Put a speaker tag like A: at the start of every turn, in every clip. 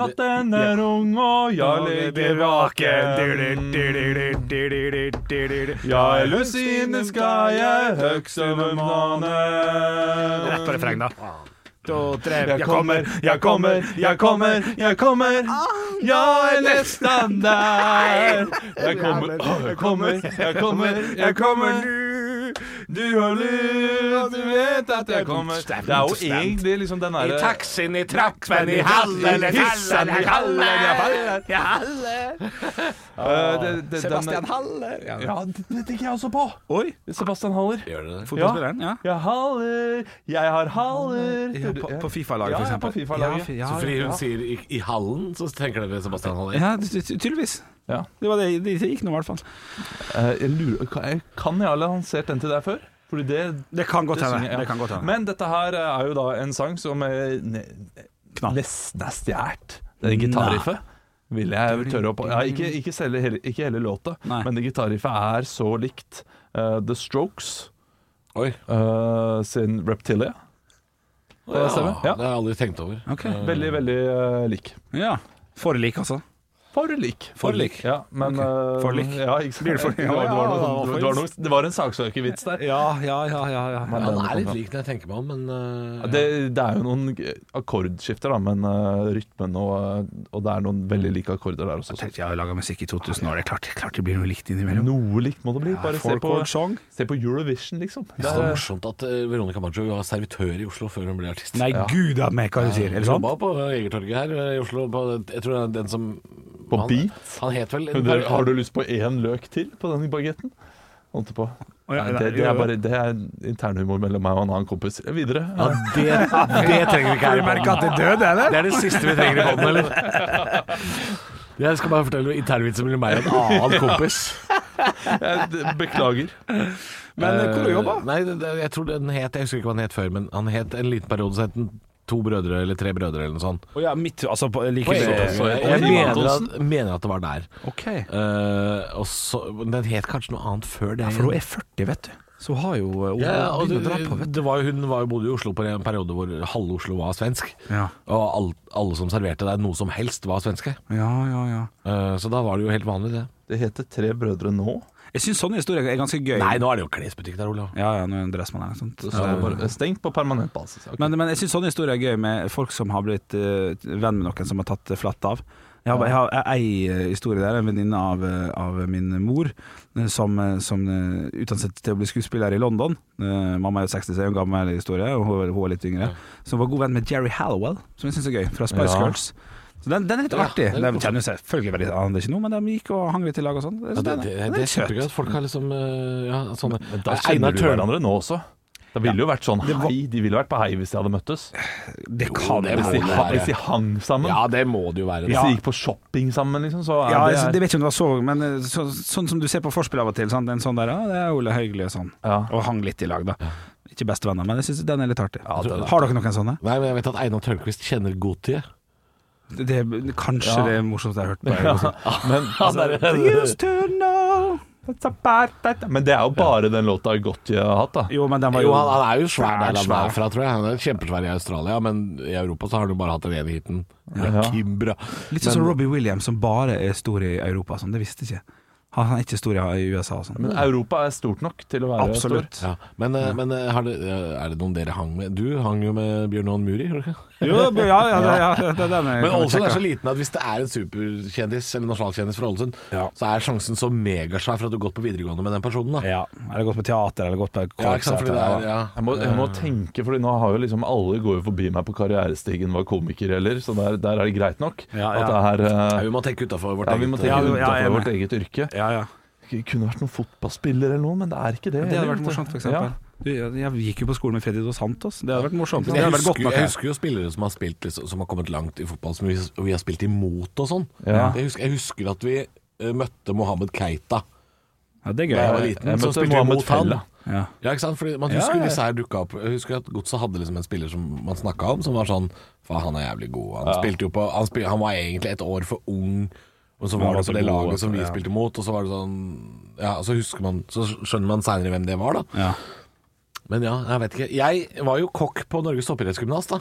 A: Natten er ung, og jeg ligger vaken. Jeg er løs innen skreie, høgse med mannen.
B: Rett på refreng, da. To, tre,
A: Jeg kommer, jeg kommer, jeg kommer, jeg kommer. Jeg er nesten der. Jeg kommer, Åh, jeg kommer, jeg kommer, jeg kommer. Du har lyst, du vet at jeg kommer. Det er jo egentlig liksom den
B: I
A: derre
B: taxien, i trappen, i hallen, i hissen, i hallen, i hallen.
A: Eh, det- det- den-
B: Sebastian Haller. Ja.
A: Ja, det det tenker jeg også på. Oi, Sebastian Haller.
C: Gjør det det?
B: Fotballspilleren, ja.
A: Jeg haller, jeg har haller
B: Ja, på- på FIFA-laget,
A: Ja,
B: for
A: ja,
B: eksempel.
A: på FIFA-laget.
B: Ja,
C: Så
B: ja,
C: fordi hun
B: ja.
C: sier i, i hallen, så tenker dere Sebastian Haller.
B: Ja, ty- ty- tydeligvis.
A: Ja.
B: Det var det det gikk nå, i hvert fall.
A: Eh, jeg lurer, kan- Kan jeg ha lansert den til deg før? Fordi det
B: Det kan godt
A: Det synger
B: hende.
A: jeg.
B: Det kan godt hende.
A: Men dette her eh, er jo da en sang som eh, ne
B: Knall.
A: nesten er stjålet. Det er gitarriffet. Vil jeg tørre å på. Ja, ikke, ikke, selge, hele- ikke hele låta,
B: Nei.
A: men det gitarriffet er så likt eh, The Strokes
C: Oi.
A: eh, sin Reptilia.
C: Ja,
A: det stemmer. Ja.
C: Det har jeg aldri tenkt over.
B: Ok.
A: Veldig, veldig eh, lik.
B: Ja. Forlik, altså.
A: For lik.
C: For lik.
A: Ja, men
B: Ok.
A: eh,
B: For lik.
A: Ja, ikke sant?
B: Blir det for-
A: det, var, det, var noe,
B: Ja,
A: sånn- det, var noe, det var en saksøkervits der.
B: Ja, ja, ja. ja, ja.
A: Men
C: Ja,
A: den
C: han er
A: kom
C: litt
A: fra-
C: lik når jeg tenker meg om, men eh,
A: Ja, Det, det er jo noen akkordskifter, da, men eh, rytmen og, eh, og det er noen veldig like akkorder der også. så-
B: Jeg har laga musikk i 2000 år, det er klart, klart det blir noe likt innimellom.
A: Noe likt må det bli. Bare se på,
B: Folkord song.
A: se på Eurovision, liksom.
C: det er så morsomt at eh, Veronica Maggio var servitør i Oslo før hun ble artist.
B: Nei, gud a meg, hva du sier. Er det sant?
C: Jobba på Jegertorget her eh, i Oslo. På, jeg tror det er den som
A: På
C: han,
A: Beat?
C: Han het vel
A: Men dere, har du lyst på én løk til på den bagetten? Holdt på.
B: Å, ja,
A: Nei,
B: nei,
A: det, det
B: jo,
A: er
B: jo.
A: bare det er internhumor mellom meg og en annen kompis. Videre.
C: det, det trenger vi
B: Har
C: ikke her.
B: du merka at det er død, eller?
C: Det er det siste vi trenger i båten, eller? Jeg skal bare fortelle internvitsen mellom meg og en annen kompis.
A: Jeg d- beklager.
B: Men eh, hvor du jobba?
C: Eh, Nei, det, det, jeg tror den het Jeg husker ikke hva den het før, men han het en liten periode så het den To brødre eller Tre brødre eller noe sånt.
B: Å ja, mitt Altså, på, like
C: På
B: ved-
C: Jegertorget.
A: så-
C: jeg
A: og Kim
C: mener at,
A: Antonsen.
C: mener at det var der.
B: OK.
C: Eh, og så, men den het kanskje noe annet før det.
B: For hun er 40, vet du. Så hun har jo eh, hun
C: Ja, og
B: begynner å dra på,
C: det,
B: vet du.
C: det var jo, hun var jo bodde i Oslo på en periode hvor halve Oslo var svensk.
B: Ja.
C: Og all, alle som serverte der noe som helst, var svenske.
B: ja, ja, ja.
C: Eh, så da var det jo helt vanlig, det.
A: Det heter Tre brødre nå.
B: Jeg syns sånne historier er ganske gøy.
C: Nei, nå er det jo klesbutikk der, Olav.
B: Ja, ja, nå er det en dressmann her. Sant?
A: Så det er bare stengt på permanent basis. Ok.
B: Men, men jeg syns sånne historier er gøy med folk som har blitt eh, venn med noen som har tatt eh, flatt av. Jeg har, jeg har ei eh, historie der, en venninne av, eh, av min mor, eh, som, eh, som eh, utdannet seg til å bli skuespiller i London. Eh, Mamma er jo 60, så det er jo en gammel historie, og hun, er- hun er litt yngre. Som var god venn med Jerry Hallowell, som jeg syns er gøy, fra Spice
A: Ja.
B: Girls. Så den, den er litt
C: Ja,
B: artig.
C: den er
B: De
C: god.
B: kjenner jo seg selvfølgelig veldig annerledes nå, men de gikk og hang litt i lag og sånn.
C: Ja,
B: Så
C: Altså, det,
B: den-
C: det,
B: den
C: det
B: er
C: er
B: søt.
C: kjempegøy at folk har liksom eh, ja, sånne
A: Men da
C: Eh,
A: kjenner
C: Einar
A: du
C: Tørn-
A: hverandre nå også. Det ville jo vært sånn hei. De ville vært på hei hvis de hadde møttes.
B: Det kan
C: det
B: det
C: må
A: Hvis de,
C: det
A: ha-
C: være.
A: hvis de hang sammen.
C: Ja, det må det jo være.
A: Hvis
B: Ja.
A: de gikk på shopping sammen, liksom. Så er
B: Ja,
A: det,
B: altså, det vet ikke om det var så Men eh, så, sånn som du ser på forspill av og til sant? En sånn der, ja, det er Ole Høgli og sånn
A: Ja.
B: Og hang litt i lag da Ikke bestevenner, men jeg synes den er litt artig
A: Ja, den er-
B: Har dere noen sånne?
C: Nei, men jeg vet at Einar Tørnquist kjenner Gotie.
B: Det, det, kanskje
A: Ja.
B: det er morsomt jeg har hørt på
A: Ja, men, altså,
B: Used to know
A: men det er jo bare den låta Gotje har hatt, da.
B: Jo, men den var
C: Jo,
B: jo
C: han, han er jo svær
B: Svær,
C: der han
B: svær.
C: er fra, tror jeg. Han er kjempesvær i Australia, men i Europa så har han jo bare hatt den ene hiten.
A: Ja.
C: Kimbra.
B: Litt sånn som Robbie Williams som bare er stor i Europa og sånn. Det visste jeg ikke Han han er ikke stor i USA og sånn
A: Men Europa er stort nok til å være
B: Absolutt
C: Ja, men eh, men eh, har det, eh, er det noen dere hang med? Du hang jo med Bjørn Hån Muri, gjorde du ikke?
B: Jo, ja, ja, ja, ja det, den er, kan
C: Men
B: vi
C: Ålesund er
B: sjekke.
C: så liten at hvis det er en superkjendis eller nasjonalkjendis fra Ålesund,
B: Ja.
C: så er sjansen så megasvær for at du har gått på videregående med den personen. Da.
B: Ja, eller gått på teater Eller gått på
C: Ja, ikke sant? Fordi det er,
B: korpseter
C: ja.
A: Jeg må, jeg må tenke, fordi nå har jo liksom alle går jo forbi meg på karrierestigen hva komiker gjelder, så der, der er det greit nok.
B: Ja, ja.
A: At det er
C: Ja,
A: eh,
C: vi må tenke utafor vårt
A: ja, Vi må
C: eget
A: tenke ja,
B: Ja, vi- ja, jeg er
A: utenfor
B: med.
A: vårt eget yrke.
B: Ja, ja
A: Det kunne vært noen fotballspiller eller noe, men det er ikke det.
B: Det hadde
A: heller,
B: vært
A: vet du.
B: morsomt, f.eks. Ja. Jeg gikk jo på skolen med Freddy Dos Santos. Det hadde vært morsomt. Det
C: Jeg
B: hadde vært godt
C: husker,
B: nok
C: jeg
B: her.
C: husker jo spillere som har spilt liksom, Som har kommet langt i fotball, som vi, og vi har spilt imot og sånn.
A: Ja.
C: Jeg, husker, jeg husker at vi eh, møtte Mohammed Keita
B: Ja, det er
C: da jeg var
B: gøy.
C: liten.
A: jeg
C: så
A: møtte
C: spilte vi
A: Mohammed
C: mot han.
A: Fella.
B: Ja.
C: Ja, ikke sant? Fordi man
B: Ja,
C: husker
B: ja.
C: disse her dukka opp. Jeg husker at Godset hadde liksom en spiller som man snakka om, som var sånn Faen, han er jævlig god. Han spilte jo på han, spil, han var egentlig et år for ung, og så
B: han
C: var
B: var
C: det
B: så
C: på det
B: god,
C: laget som vi
B: ja.
C: spilte mot, og så var det sånn Ja, så husker man Så skjønner man seinere hvem det var, da.
B: Ja.
C: Men ja, jeg vet ikke. Jeg var jo kokk på Norges toppidrettsgymnas, da.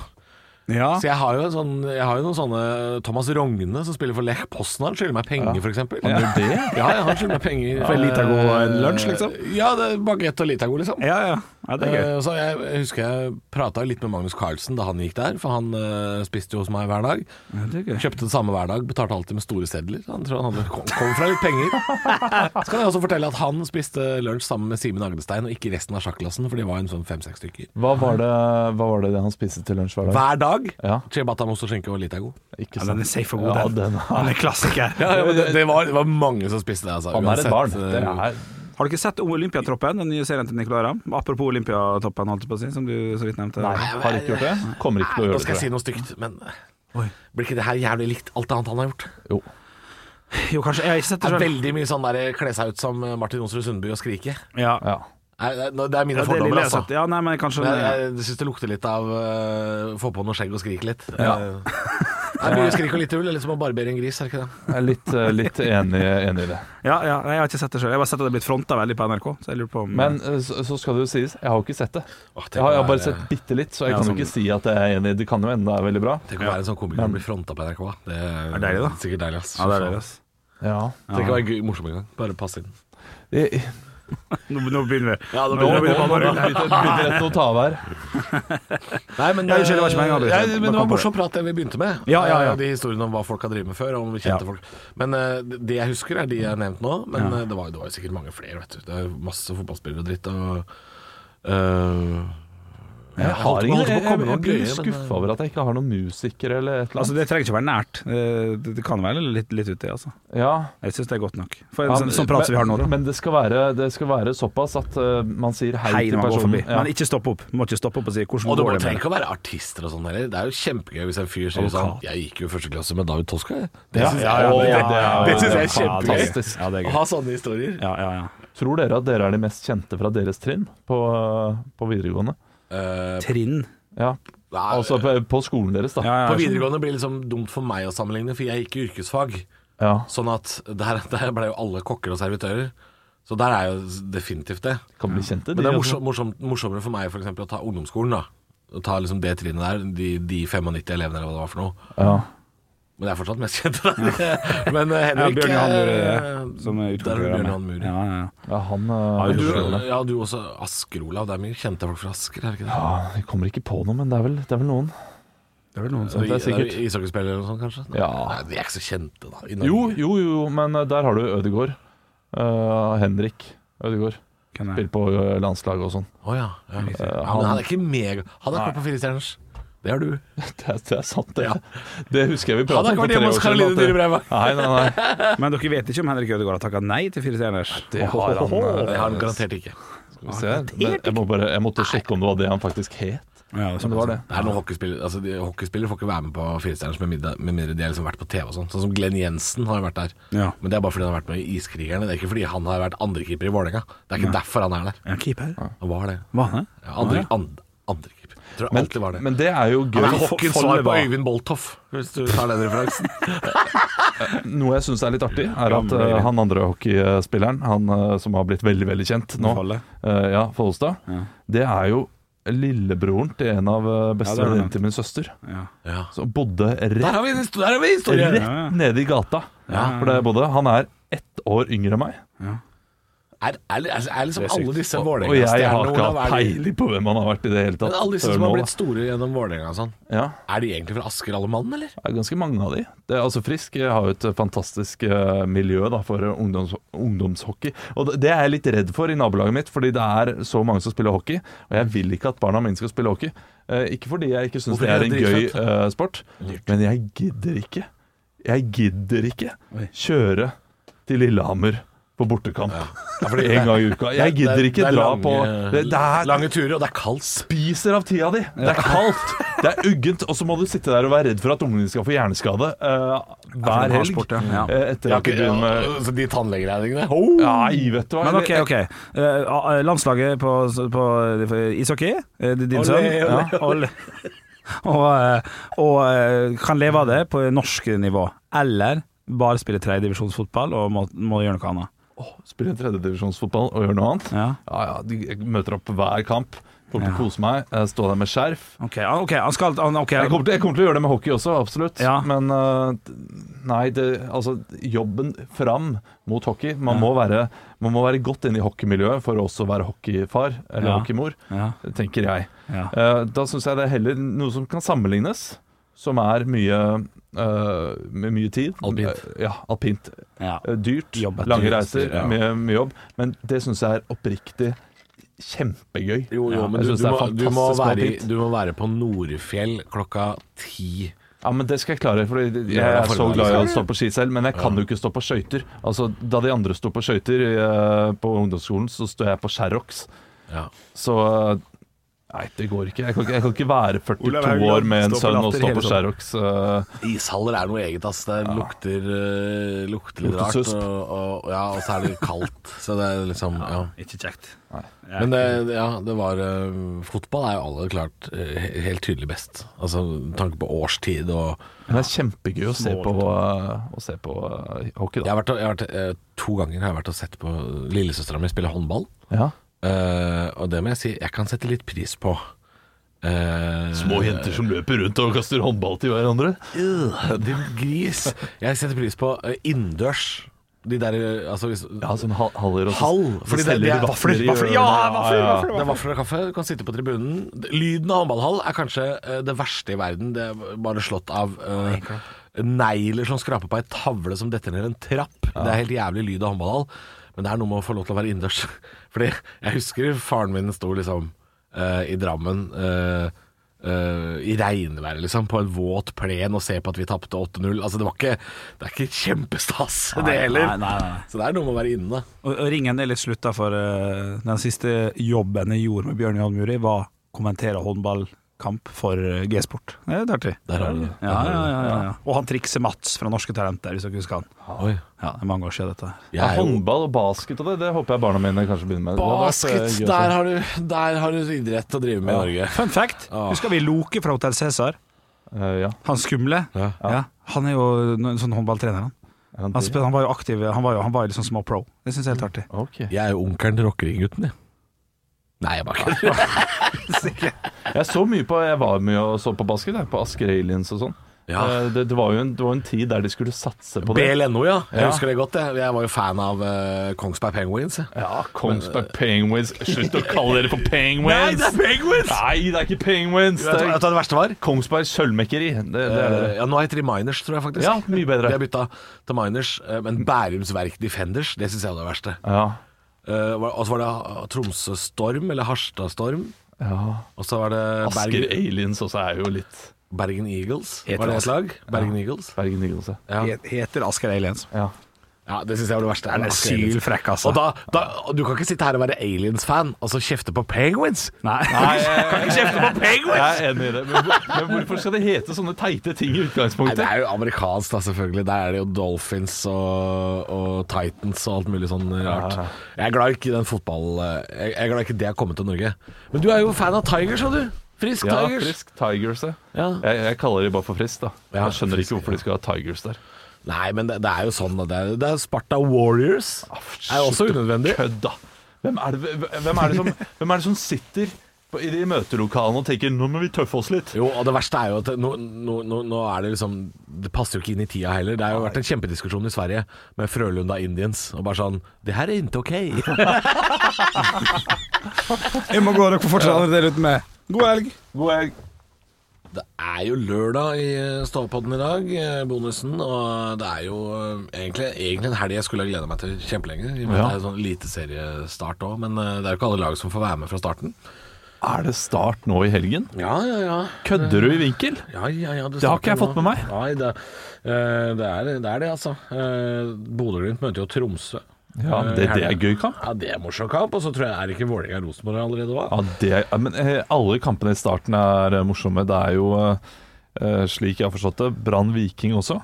B: Ja.
C: Så jeg har, jo en sånn, jeg har jo noen sånne Thomas Rogne som spiller for Lech Poznan, skylder meg penger, for f.eks.
A: Han gjør det?
C: Ja, ja, han skylder meg penger. Eh,
B: For en Litago og en lunsj, liksom?
C: Ja, det er bagett og Litago, liksom.
B: Ja, ja. ja det er gøy.
C: Eh, Så jeg, jeg husker jeg prata litt med Magnus Carlsen da han gikk der, for han eh, spiste jo hos meg hver dag.
B: Ja, det er gøy.
C: Kjøpte det samme hver dag, betalte alltid med store sedler. Han tror han hadde kom, kom fra litt penger. Så kan jeg også fortelle at han spiste lunsj sammen med Simen Agdestein, og ikke resten av sjakklassen, for de var en sånn fem-seks stykker.
A: Hva var, det, hva var det han spiste til lunsj hver dag?
C: Hver dag!
A: Ja,
C: Ciabatta, most og skinke og Litago.
A: ikke
B: Ja,
A: sant.
B: den er safe og god,
A: Ja,
B: den.
A: den er-
B: Den er klassiker.
C: Ja, ja, men det, det, var, det var mange som spiste det, altså.
A: Han er et
C: uansett,
A: barn.
C: eh,
A: Det er,
B: Har du ikke sett Olympiatroppen, den nye serien til Nicolay Ramm? Apropos Olympiatoppen, holdt jeg på å si, som du så vidt nevnte.
A: nei, har ikke gjort det. Kommer ikke til å
C: Nå
A: gjøre det.
C: skal
A: tror
C: jeg si
A: jeg.
C: noe stygt, men eh,
B: Oi.
C: blir ikke det her jævlig likt alt annet han har gjort?
A: Jo.
B: Jo, kanskje. Jeg har ikke sett
C: Det
B: det
C: er
B: selv.
C: veldig mye sånn der kle seg ut som eh, Martin Onsrud Sundby og skrike.
B: Ja.
A: Ja.
C: Nei, det er- det er mine
B: Ja, det er lille
C: fordommer,
B: jeg har
C: altså.
B: sett. Ja, nei, men kanskje
C: Men jeg, jeg, jeg syns det lukter litt av eh, få på noe skjegg og skrike litt.
A: Ja.
C: Eh, Det er mye skrik og lite ull. Det er litt som å barbere en gris, er det ikke det?
A: Jeg er litt, eh, litt enig, enig i det.
B: Ja, ja, nei, jeg har ikke sett det selv. Jeg har bare sett at det er blitt fronta veldig på NRK, så jeg lurer på om
A: Men eh, så, så skal det jo sies, jeg har jo ikke sett det.
C: Åh, tenk
A: Jeg har, jeg
C: å
A: har bare
C: være-
A: sett bitte litt, så jeg
B: Ja,
A: kan jo
B: sånn.
A: ikke si at jeg er enig. Det kan jo hende det er veldig bra.
C: Tenk å være en sånn komiker som blir fronta på NRK. Det er,
B: Det er deilig, da.
C: sikkert deilig, ass.
B: Ja, det er det, ass.
A: Ja.
C: Tenk å være gøy, morsom en gang. Bare pass inn.
A: Jeg,
B: Nå, nå begynner vi.
C: Ja,
B: Nå begynner vi bare
A: begynte begynte rett å ta av her.
C: Nei, men,
B: Ja, unnskyld, det var ikke meg, jeg
C: eh,
B: avbryter.
C: ja,
B: Bare
C: men det
B: kom
C: var
B: på det.
C: morsom prat det vi begynte med.
B: Ja, ja, ja.
C: Eh, De historiene om hva folk har drevet med før, og om vi kjente
B: Ja.
C: folk. Men eh, det jeg husker, er de jeg har nevnt nå. Men eh, det, var, det var jo sikkert mange flere, vet du. Det er jo masse fotballspillere og dritt. Og, eh,
A: Jeg, har
C: holdt på-
A: ingen,
C: holdt på
A: jeg,
C: å komme
A: jeg,
C: noen
A: blir
C: gøye, men, eh,
A: skuffa over at jeg ikke har noen musikere eller et eller
B: Altså,
A: annet.
B: det trenger ikke være nært. Eh, Det, det kan være litt, litt uti, altså.
A: Ja.
B: Jeg syns det er godt nok. For en
A: Ja,
B: sånn, sånn prat som vi har nå, da.
A: Men det skal være, det skal være såpass at eh, man sier hei,
B: Hei
A: til
B: når man går
A: personen.
B: forbi. Men ikke stopp opp. Du må ikke stoppe opp og si 'hvordan
C: Og det
B: går
C: må
B: det med
C: trenger ikke å være artister og sånn heller. Det er jo kjempegøy hvis en fyr sier sånn
B: Advokat.
C: Jeg gikk jo i første klasse med David Toska, jeg. Det
A: Ja,
C: syns
A: ja,
C: jeg,
A: ja,
C: det-
A: ja, ja,
C: det synes
A: ja,
C: jeg er kjempegøy.
A: Fantastisk.
B: Ja, det er
C: Å
B: gøy.
C: ha sånne historier.
B: Ja, ja, ja.
A: Tror dere at dere er de mest kjente fra deres trinn på, på videregående?
C: Eh,
B: Trinn.
A: Ja,
C: nei,
A: altså på, på skolen deres, da.
B: Ja, ja,
C: på
B: jeg skjønner.
C: videregående blir det liksom dumt for meg å sammenligne, for jeg gikk i yrkesfag.
A: Ja.
C: Sånn at der, der ble jo alle kokker og servitører. Så der er jo definitivt det.
A: Kan bli kjente,
C: Men det er
A: altså.
C: morsom, morsom, morsommere for meg for eksempel, å ta ungdomsskolen, da. Å ta liksom det trinnet der, de, de 95 elevene eller hva det var for noe.
A: Ja.
C: Men det er fortsatt mest kjent der. Men
B: sånn-
C: eh,
B: Ja,
C: Henrik
B: Bjørn Johan Muri,
C: eh,
B: som er
C: Der er
B: utkonkurrerer
C: Bjørn Johan Muri.
B: Ja, ja, ja.
A: ja, han eh,
B: Ja,
A: er
B: du-
A: jo
C: du, ja, du også. Asker, Olav. Det er mye kjente folk fra Asker, er det ikke det?
A: Ja, jeg kommer ikke på noe, men det er vel, det er vel noen.
B: Det er vel noen som
A: det er sikkert.
C: jo Ishockeyspillere eller noe sånt, kanskje?
A: Ja.
C: Nei, de er ikke så kjente, da. I Norge.
A: Jo, jo, jo, men eh, der har du Ødegaard. Eh, Henrik Ødegaard.
B: kan jeg-
A: Spiller på eh, landslaget og sånn.
C: Å ja. ja. ja.
A: han-
C: Men han er ikke mega Han er kort på firestjerners. Det er du.
A: Det, er- det er sant, det.
C: Ja.
A: Det husker jeg vi
C: Han
A: pratet om for
C: har ikke vært
A: tre
C: hjemme
A: år
C: hos
A: siden.
C: Karoline
A: at det-
C: Dyrebreva.
A: Nei, nei, nei.
B: Men dere vet ikke om Henrik Ødegaard har takka nei til Fire stjerners?
A: Det har han, eh,
C: Det har han garantert ikke.
A: Skal vi se. Men jeg, må bare, jeg måtte sjekke om det var det han faktisk het.
B: Ja,
A: Men det var det.
C: Det er noen hockeyspillere altså, de- Hockeyspillere får ikke være med på Firestjerners med middag, med mindre de har liksom vært på TV og sånn. Sånn som Glenn Jensen har jo vært der.
B: Ja.
C: Men det er bare fordi han har vært med i Iskrigerne. Det er ikke fordi han har vært andrekeeper i Vålerenga. Det er ikke derfor han er der.
B: Ja, keeper.
C: Han var det.
B: Var han det?
C: Ja, andre, and, andrekeeper. Jeg Tror
A: Men,
C: alltid var det.
A: men det er jo
C: han
A: gøy.
C: er hockeyens svar på
B: Folleba.
C: Øyvind Boltoff, hvis du tar den referansen.
A: Noe jeg syns er litt artig, er at
B: Gamle
A: eh,
B: greier.
A: han andre hockeyspilleren, han eh, som har blitt veldig veldig kjent nå,
B: Folle.
A: eh, ja, Follestad,
B: Ja.
A: det er jo lillebroren til en av eh,
B: Ja, det er
A: bestevenninnene
B: det.
A: til min søster.
B: Ja.
C: Ja.
A: Som bodde
C: Der
A: rett,
C: har vi en histo- der har vi en historie!
A: rett
B: ja.
A: nede i gata.
B: Ja.
A: For der jeg bodde. Han er ett år yngre enn meg,
C: Er, er, er, er liksom
B: Det er sykt.
C: alle disse
A: og jeg har
C: Vålerenga-stjernene
A: ikke
C: Olav,
A: hatt
C: er de-
A: peiling på hvem han har vært i det hele
C: Men
A: tatt.
C: alle disse
A: før
C: som
A: nå,
C: har
A: da.
C: blitt store gjennom Vålerenga og sånn,
A: ja.
C: er de egentlig fra Asker alle mann, eller?
A: Det er ganske mange av de. Det er, altså Frisk eh, har jo et eh, fantastisk eh, miljø da, for eh, ungdoms, ungdomshockey. Og det- Det er jeg litt redd for i nabolaget mitt, fordi det er så mange som spiller hockey. Og jeg vil ikke at barna mine skal spille hockey. Eh, ikke fordi jeg ikke syns
C: Hvorfor
A: det er en
C: er
A: gøy
C: det
A: eh, sport, men jeg gidder ikke. Jeg gidder ikke
B: Oi.
A: kjøre til Lillehammer på bortekamp
C: fordi
A: en gang i uka. Jeg gidder ikke dra på det, det er
C: lange turer, og det er kaldt.
A: spiser av tida di. Det er kaldt, det er uggent, og så må du sitte der og være redd for at ungene dine skal få hjerneskade eh, hver
B: det er
A: helg.
B: sport, ja. Ja.
A: eh, Etter at du med
C: så de tannlegeregningene oh!
A: Nei, vet du hva.
B: Men OK, OK. Eh, ah, landslaget på, på ishockey, eh, din sønn
C: Olé,
B: ja, olé. Og, eh, og eh, kan leve av det på norsk nivå. Eller bare spille tredjedivisjonsfotball og må, må gjøre noe annet.
A: Spiller tredjedivisjonsfotball og gjør noe annet.
B: Ja.
A: Ja ja, de møter opp hver kamp. Kommer til å kose meg. eh, Stå der med skjerf.
B: Ok, ja, ok, han skal han, ok.
A: Jeg kommer, til, jeg kommer til å gjøre det med hockey også, absolutt.
B: Ja.
A: Men eh, nei, det, altså jobben fram mot hockey Man, må, være, man må være godt inne i hockeymiljøet for å også være hockeyfar eller
B: Ja.
A: hockeymor,
B: Ja,
A: tenker jeg.
B: ja.
A: Eh, Da syns jeg det er heller noe som kan sammenlignes, som er mye eh, med mye tid.
C: Alpint.
A: Eh, Ja, alpint.
B: ja.
A: Eh, Dyrt,
B: Jobb er
A: lange
B: dyrt,
A: reiser,
B: ja.
A: mye, mye jobb. Men det syns jeg er oppriktig kjempegøy.
C: Jo, jo,
A: Ja,
C: men
A: jeg
C: du,
A: synes
C: du,
A: det er
C: må, du, må
A: fantastisk
C: være, i-
A: alpint.
C: du må være på Norefjell klokka ti.
A: Ja, men Det skal jeg klare, for jeg
C: Ja,
A: er
C: for
A: så
C: det.
A: glad i å stå på ski selv. Men jeg kan jo ikke stå på skøyter. Altså, da de andre sto på skøyter eh, på ungdomsskolen, så står jeg på Sherrox.
C: Ja.
A: Så eh, Nei, det går ikke. Jeg kan ikke, jeg kan ikke være 42
B: Olav Haugland
A: år med en
B: står på
A: sønn og
B: latter
A: stå
B: hele
A: på Sherrox. eh,
C: Ishaller er noe eget, ass. Det lukter, eh, lukter litt
A: Lukter
C: rart.
A: susp.
C: Og, og, ja, og så er det kaldt. Så det er liksom ja.
B: Ikke kjekt.
C: Men det, ja, det var eh, Fotball er jo alle klart eh, he- helt tydelig best. Altså med tanke på årstid og
A: Men det er kjempegøy å se på, eh, å se på eh, hockey,
C: Jeg
A: da.
C: har vært, og- jeg har vært eh, to ganger har jeg vært og sett på lillesøstera mi spille håndball.
A: Ja.
C: Eh, og det må jeg si, jeg kan sette litt pris på. Eh,
A: som løper rundt og kaster håndball til hverandre.
C: Øh, Din gris. Jeg setter pris på eh, innendørs. De der eh, altså, hvis,
A: Ja, sånn hal haller og så-
C: Hall,
A: så
C: fordi det-
A: selger
C: det
A: de
C: er-
A: vafler i
B: vafler,
A: hjørnet.
B: ja, vafler, vafler.
C: Det er vafler og kaffe, du kan sitte på tribunen. Lyden av håndballhall er kanskje eh, det verste i verden. Det er bare slått av eh, negler som skraper på ei tavle som detter ned en trapp. Det er helt jævlig lyd av håndballhall, men det er noe med å få lov til å være innendørs. Fordi jeg husker faren min sto liksom eh, i Drammen eh, eh, I regnværet, liksom, på en våt plen og se på at vi tapte 8-0. Altså, det var ikke Det er ikke kjempestas, det heller.
B: Nei, nei, nei.
C: Så det er noe med å være inne.
B: Og, og ringen er litt slutta, for eh, den siste jobben jeg gjorde med Bjørn Johan Muri, var å kommentere håndballkamp for eh, G-sport. Det er litt artig.
C: Der har du det.
B: Ja, ja, ja, ja, ja. Og han trikser Mats fra Norske Talenter, hvis dere husker han.
C: Oi.
B: Ja, det er mange år siden dette. her.
C: Jeg
A: Ja,
C: er jo-
A: håndball og basket og det, det håper jeg barna mine kanskje begynner med. Det hadde vært, eh,
C: Basket,
A: gøy å
C: der
A: se.
C: har, du, der har du idrett å drive med i Norge.
B: Fun fact, husker vi Loke fra Hotell Cæsar?
A: Eh, ja.
B: Han skumle?
C: Ja.
B: Ja, han er jo en sånn håndballtrener, han.
A: Er han
B: Han,
A: det?
B: spil, han var jo aktiv, han var jo, han var jo liksom små pro. Det syns jeg er helt artig.
A: Ok.
C: Jeg er jo onkelen til rockeringutten, jeg. Nei, jeg bare kødder.
A: Jeg så mye på Jeg var mye og så på basket, jeg, på Asker Aliens og sånn.
C: Ja.
A: Eh, Det, det, var jo en, det var en tid der de skulle satse på det.
C: BLNO, ja. Jeg
A: Ja.
C: husker det godt. Jeg, jeg var jo fan av eh, Kongsberg Penguins. jeg.
A: Ja, Kongsberg Penguins. Slutt å kalle dere for penguins!
C: Penguins!
A: Nei, det er ikke penguins!
C: Vet
A: Det
C: du
A: er
C: hva- vet du hva det verste var?
A: Kongsberg sølvmekkeri. Det, det er det.
C: Eh, ja, nå heter de Miners, tror jeg faktisk.
A: Ja, mye bedre.
C: De har bytta til Miners. eh, Men Bærums Verk Defenders, det syns jeg var det verste.
A: Ja.
C: Eh, var- og så var det eh, Tromsø Storm, eller Harstad Storm.
A: ja.
C: Og så var det
A: Asker E-
C: Bergen,
A: Aliens også er jo litt
C: Bergen Eagles.
B: Heter
C: Var det
B: det
C: et lag? Bergen Eagles.
A: Bergen Eagles, ja.
C: Ja.
B: Het- Heter Asker Aliens.
A: ja.
C: Ja, det syns jeg var det verste.
B: Han er
C: Asker Aliens.
B: sylfrekk, altså.
C: Og da, da, og du kan ikke sitte her og være aliens-fan og så kjefte på penguins.
B: Nei.
A: kan ikke kjefte på penguins! eh, Jeg er enig i det. Men, hvor- men hvorfor skal det hete sånne teite ting i
C: Nei, det
A: utgangspunktet?
C: er jo amerikansk, da, selvfølgelig. Der er det jo Dolphins og, og Titans og alt mulig sånn rart. Jeg er glad ikke den fotball... eh, Jeg, jeg er glad ikke det har kommet til Norge. Men du er jo fan av Tigers, sa du. Frisk
A: Ja,
C: Tigers.
A: Frisk Tigers, ja.
C: Ja.
A: Jeg, jeg kaller de bare for Frisk, da.
C: Ja,
A: Jeg skjønner
C: Frisk,
A: ikke hvorfor de skal ha Tigers der.
C: Nei, men det, det er jo sånn. da. Det er, det er Sparta Warriors.
A: Ah,
C: Det er jo også unødvendig.
A: Kødd, da! Hvem er det, hvem er det, som, hvem er det som sitter på, i de møtelokalene og tenker 'nå må vi tøffe oss litt'?
C: Jo, og det verste er jo at nå, nå, nå, nå er det liksom Det passer jo ikke inn i tida heller. Det har jo vært en kjempediskusjon i Sverige med Frølunda Indians, og bare sånn Det her er ikke ok.
B: Jeg må gå, dere får fortsette å dele ut med. God helg.
A: God helg.
C: det er jo lørdag i eh, Ståpodden i dag, eh, bonusen, og det er jo eh, egentlig, egentlig en helg jeg skulle ha gleda meg til kjempelenge. I og med
A: Ja.
C: at Det er jo sånn eliteseriestart òg, men eh, det er jo ikke alle lag som får være med fra starten.
A: Er det start nå i helgen?
C: Ja, ja, ja.
A: Kødder du i vinkel?
C: Ja, ja, ja,
A: Det har ikke jeg fått med meg.
C: Nei, det, eh, det, er, det er det, altså. Eh, Bodø-Glimt møter jo Tromsø.
A: Ja,
C: Eh,
A: det, det
C: helgen.
A: er gøy kamp.
C: Ja, det er morsom kamp, og så tror jeg er det ikke Vålerenga Rosenborg allerede òg.
A: Ja, det er, ja, men eh, alle kampene i starten er eh, morsomme. Det er jo, eh, eh, slik jeg har forstått det, Brann Viking også.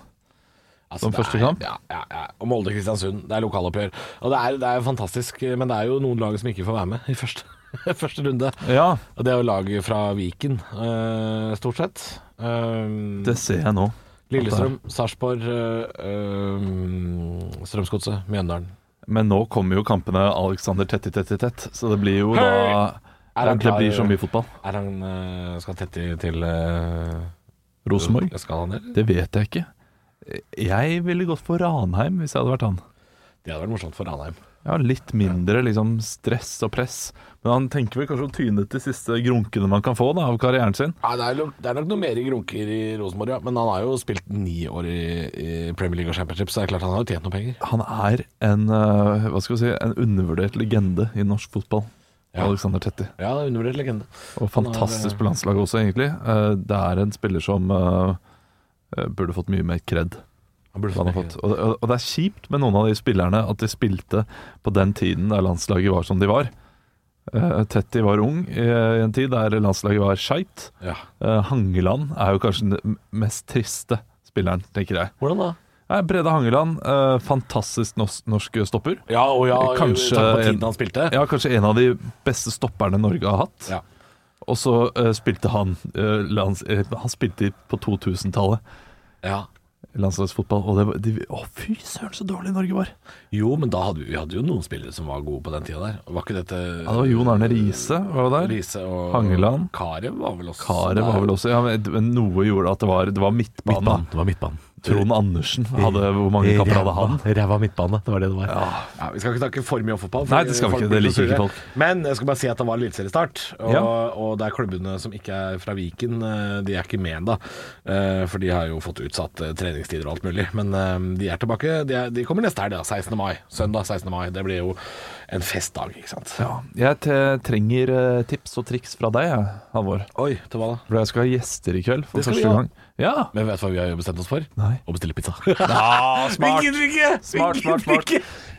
C: Altså,
A: som
C: det er-
A: første kamp?
C: Ja, ja, ja. Og Molde Kristiansund. Det er lokaloppgjør. Og det er, det er fantastisk, men det er jo noen lag som ikke får være med i første, første runde.
A: Ja,
C: Og det er jo lag fra Viken, eh, stort sett. Um,
A: det ser jeg nå.
C: Lillestrøm, Sarpsborg, eh, um, Strømsgodset, Mjøndalen.
A: Men nå kommer jo kampene Alexander tett i tett i tett, så det blir jo da
C: Er han
A: Det
C: klar-
A: blir så mye fotball.
C: Er han eh, Skal Tetti til eh,
A: Rosenborg?
C: Skal han det?
A: Det vet jeg ikke. Jeg ville gått for Ranheim hvis jeg hadde vært han.
C: Det hadde vært morsomt for Ranheim.
A: Ja, litt mindre liksom, stress og press. Men han tenker vel kanskje å tyne til siste grunkene man kan få da, av karrieren sin.
C: Ja, det, er nok, det er nok noe mer grunker i Rosenborg, ja. Men han har jo spilt ni år i, i Premier League og Championship, så det er klart han har jo tjent noen penger.
A: Han er en, eh, hva skal vi si, en undervurdert legende i norsk fotball.
C: Ja.
A: Alexander Tetti.
C: Ja, det er undervurdert legende.
A: Og fantastisk på landslaget også, egentlig. Eh, Det er en spiller som eh, eh, burde fått mye mer kred.
C: Han burde
A: Han har fått. Og, og, og det er kjipt med noen av de spillerne at de spilte på den tiden der landslaget var som de var. Eh, Tetti var ung i, i en tid der landslaget var skeit.
C: Ja.
A: Eh, Hangeland er jo kanskje den m- mest triste spilleren, tenker jeg.
C: Hvordan da?
A: Nei, Brede Hangeland, eh, fantastisk nos norsk stopper.
C: Ja, og ja,
A: Eh, Kanskje-
C: takk på tiden han spilte.
A: Ja, kanskje en av de beste stopperne Norge har hatt.
C: Ja.
A: Og så eh, spilte han eh, lands eh, Han spilte på 2000-tallet
C: Ja.
A: landslagsfotball, og det var de, Å, fy søren, så dårlig Norge var!
C: Jo, men da hadde vi, vi hadde jo noen spillere som var gode på den tida der. Var ikke dette
A: Ja, det var Jon Arne Riise var jo der.
C: Riise og
A: Hangeland.
C: Karev var vel også
A: Karev var vel også ja, men Noe gjorde at det var, det var midtbane.
C: midtbanen. Det var midtbanen.
A: Trond Andersen hadde Hvor mange kamper hadde han?
C: Ræva midtbane, det var det det var. Ja. vi skal ikke snakke for mye om fotball. for
A: Nei, det skal vi
C: folk
A: ikke,
C: blir
A: det
C: så
A: liker ikke
C: sure.
A: folk.
C: Men jeg skal bare si at det var eliteseriestart, og,
A: Ja.
C: og det er klubbene som ikke er fra Viken, eh, de er ikke med da. Eh, For de har jo fått utsatt eh, treningstider og alt mulig. Men eh, de er tilbake. De, er, de kommer neste helg, da, 16. mai. Søndag 16. mai. Det blir jo en festdag, ikke sant.
A: Ja, jeg te- trenger eh, tips og triks fra deg, jeg, Halvor.
C: Oi, til hva da?
A: For jeg skal ha gjester i kveld for
C: Det skal vi
A: første
C: ha.
A: gang. Ja!
C: Men vet du hva vi har bestemt oss for?
A: Nei.
C: Å bestille pizza.
A: Ah, smart.
C: ikke!
A: Smart, smart, smart.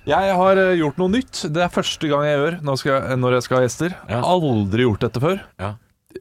A: Jeg har eh, gjort noe nytt. Det er første gang jeg gjør når, skal jeg, når jeg skal ha gjester.
C: Ja.
A: Aldri gjort dette før.
C: Ja.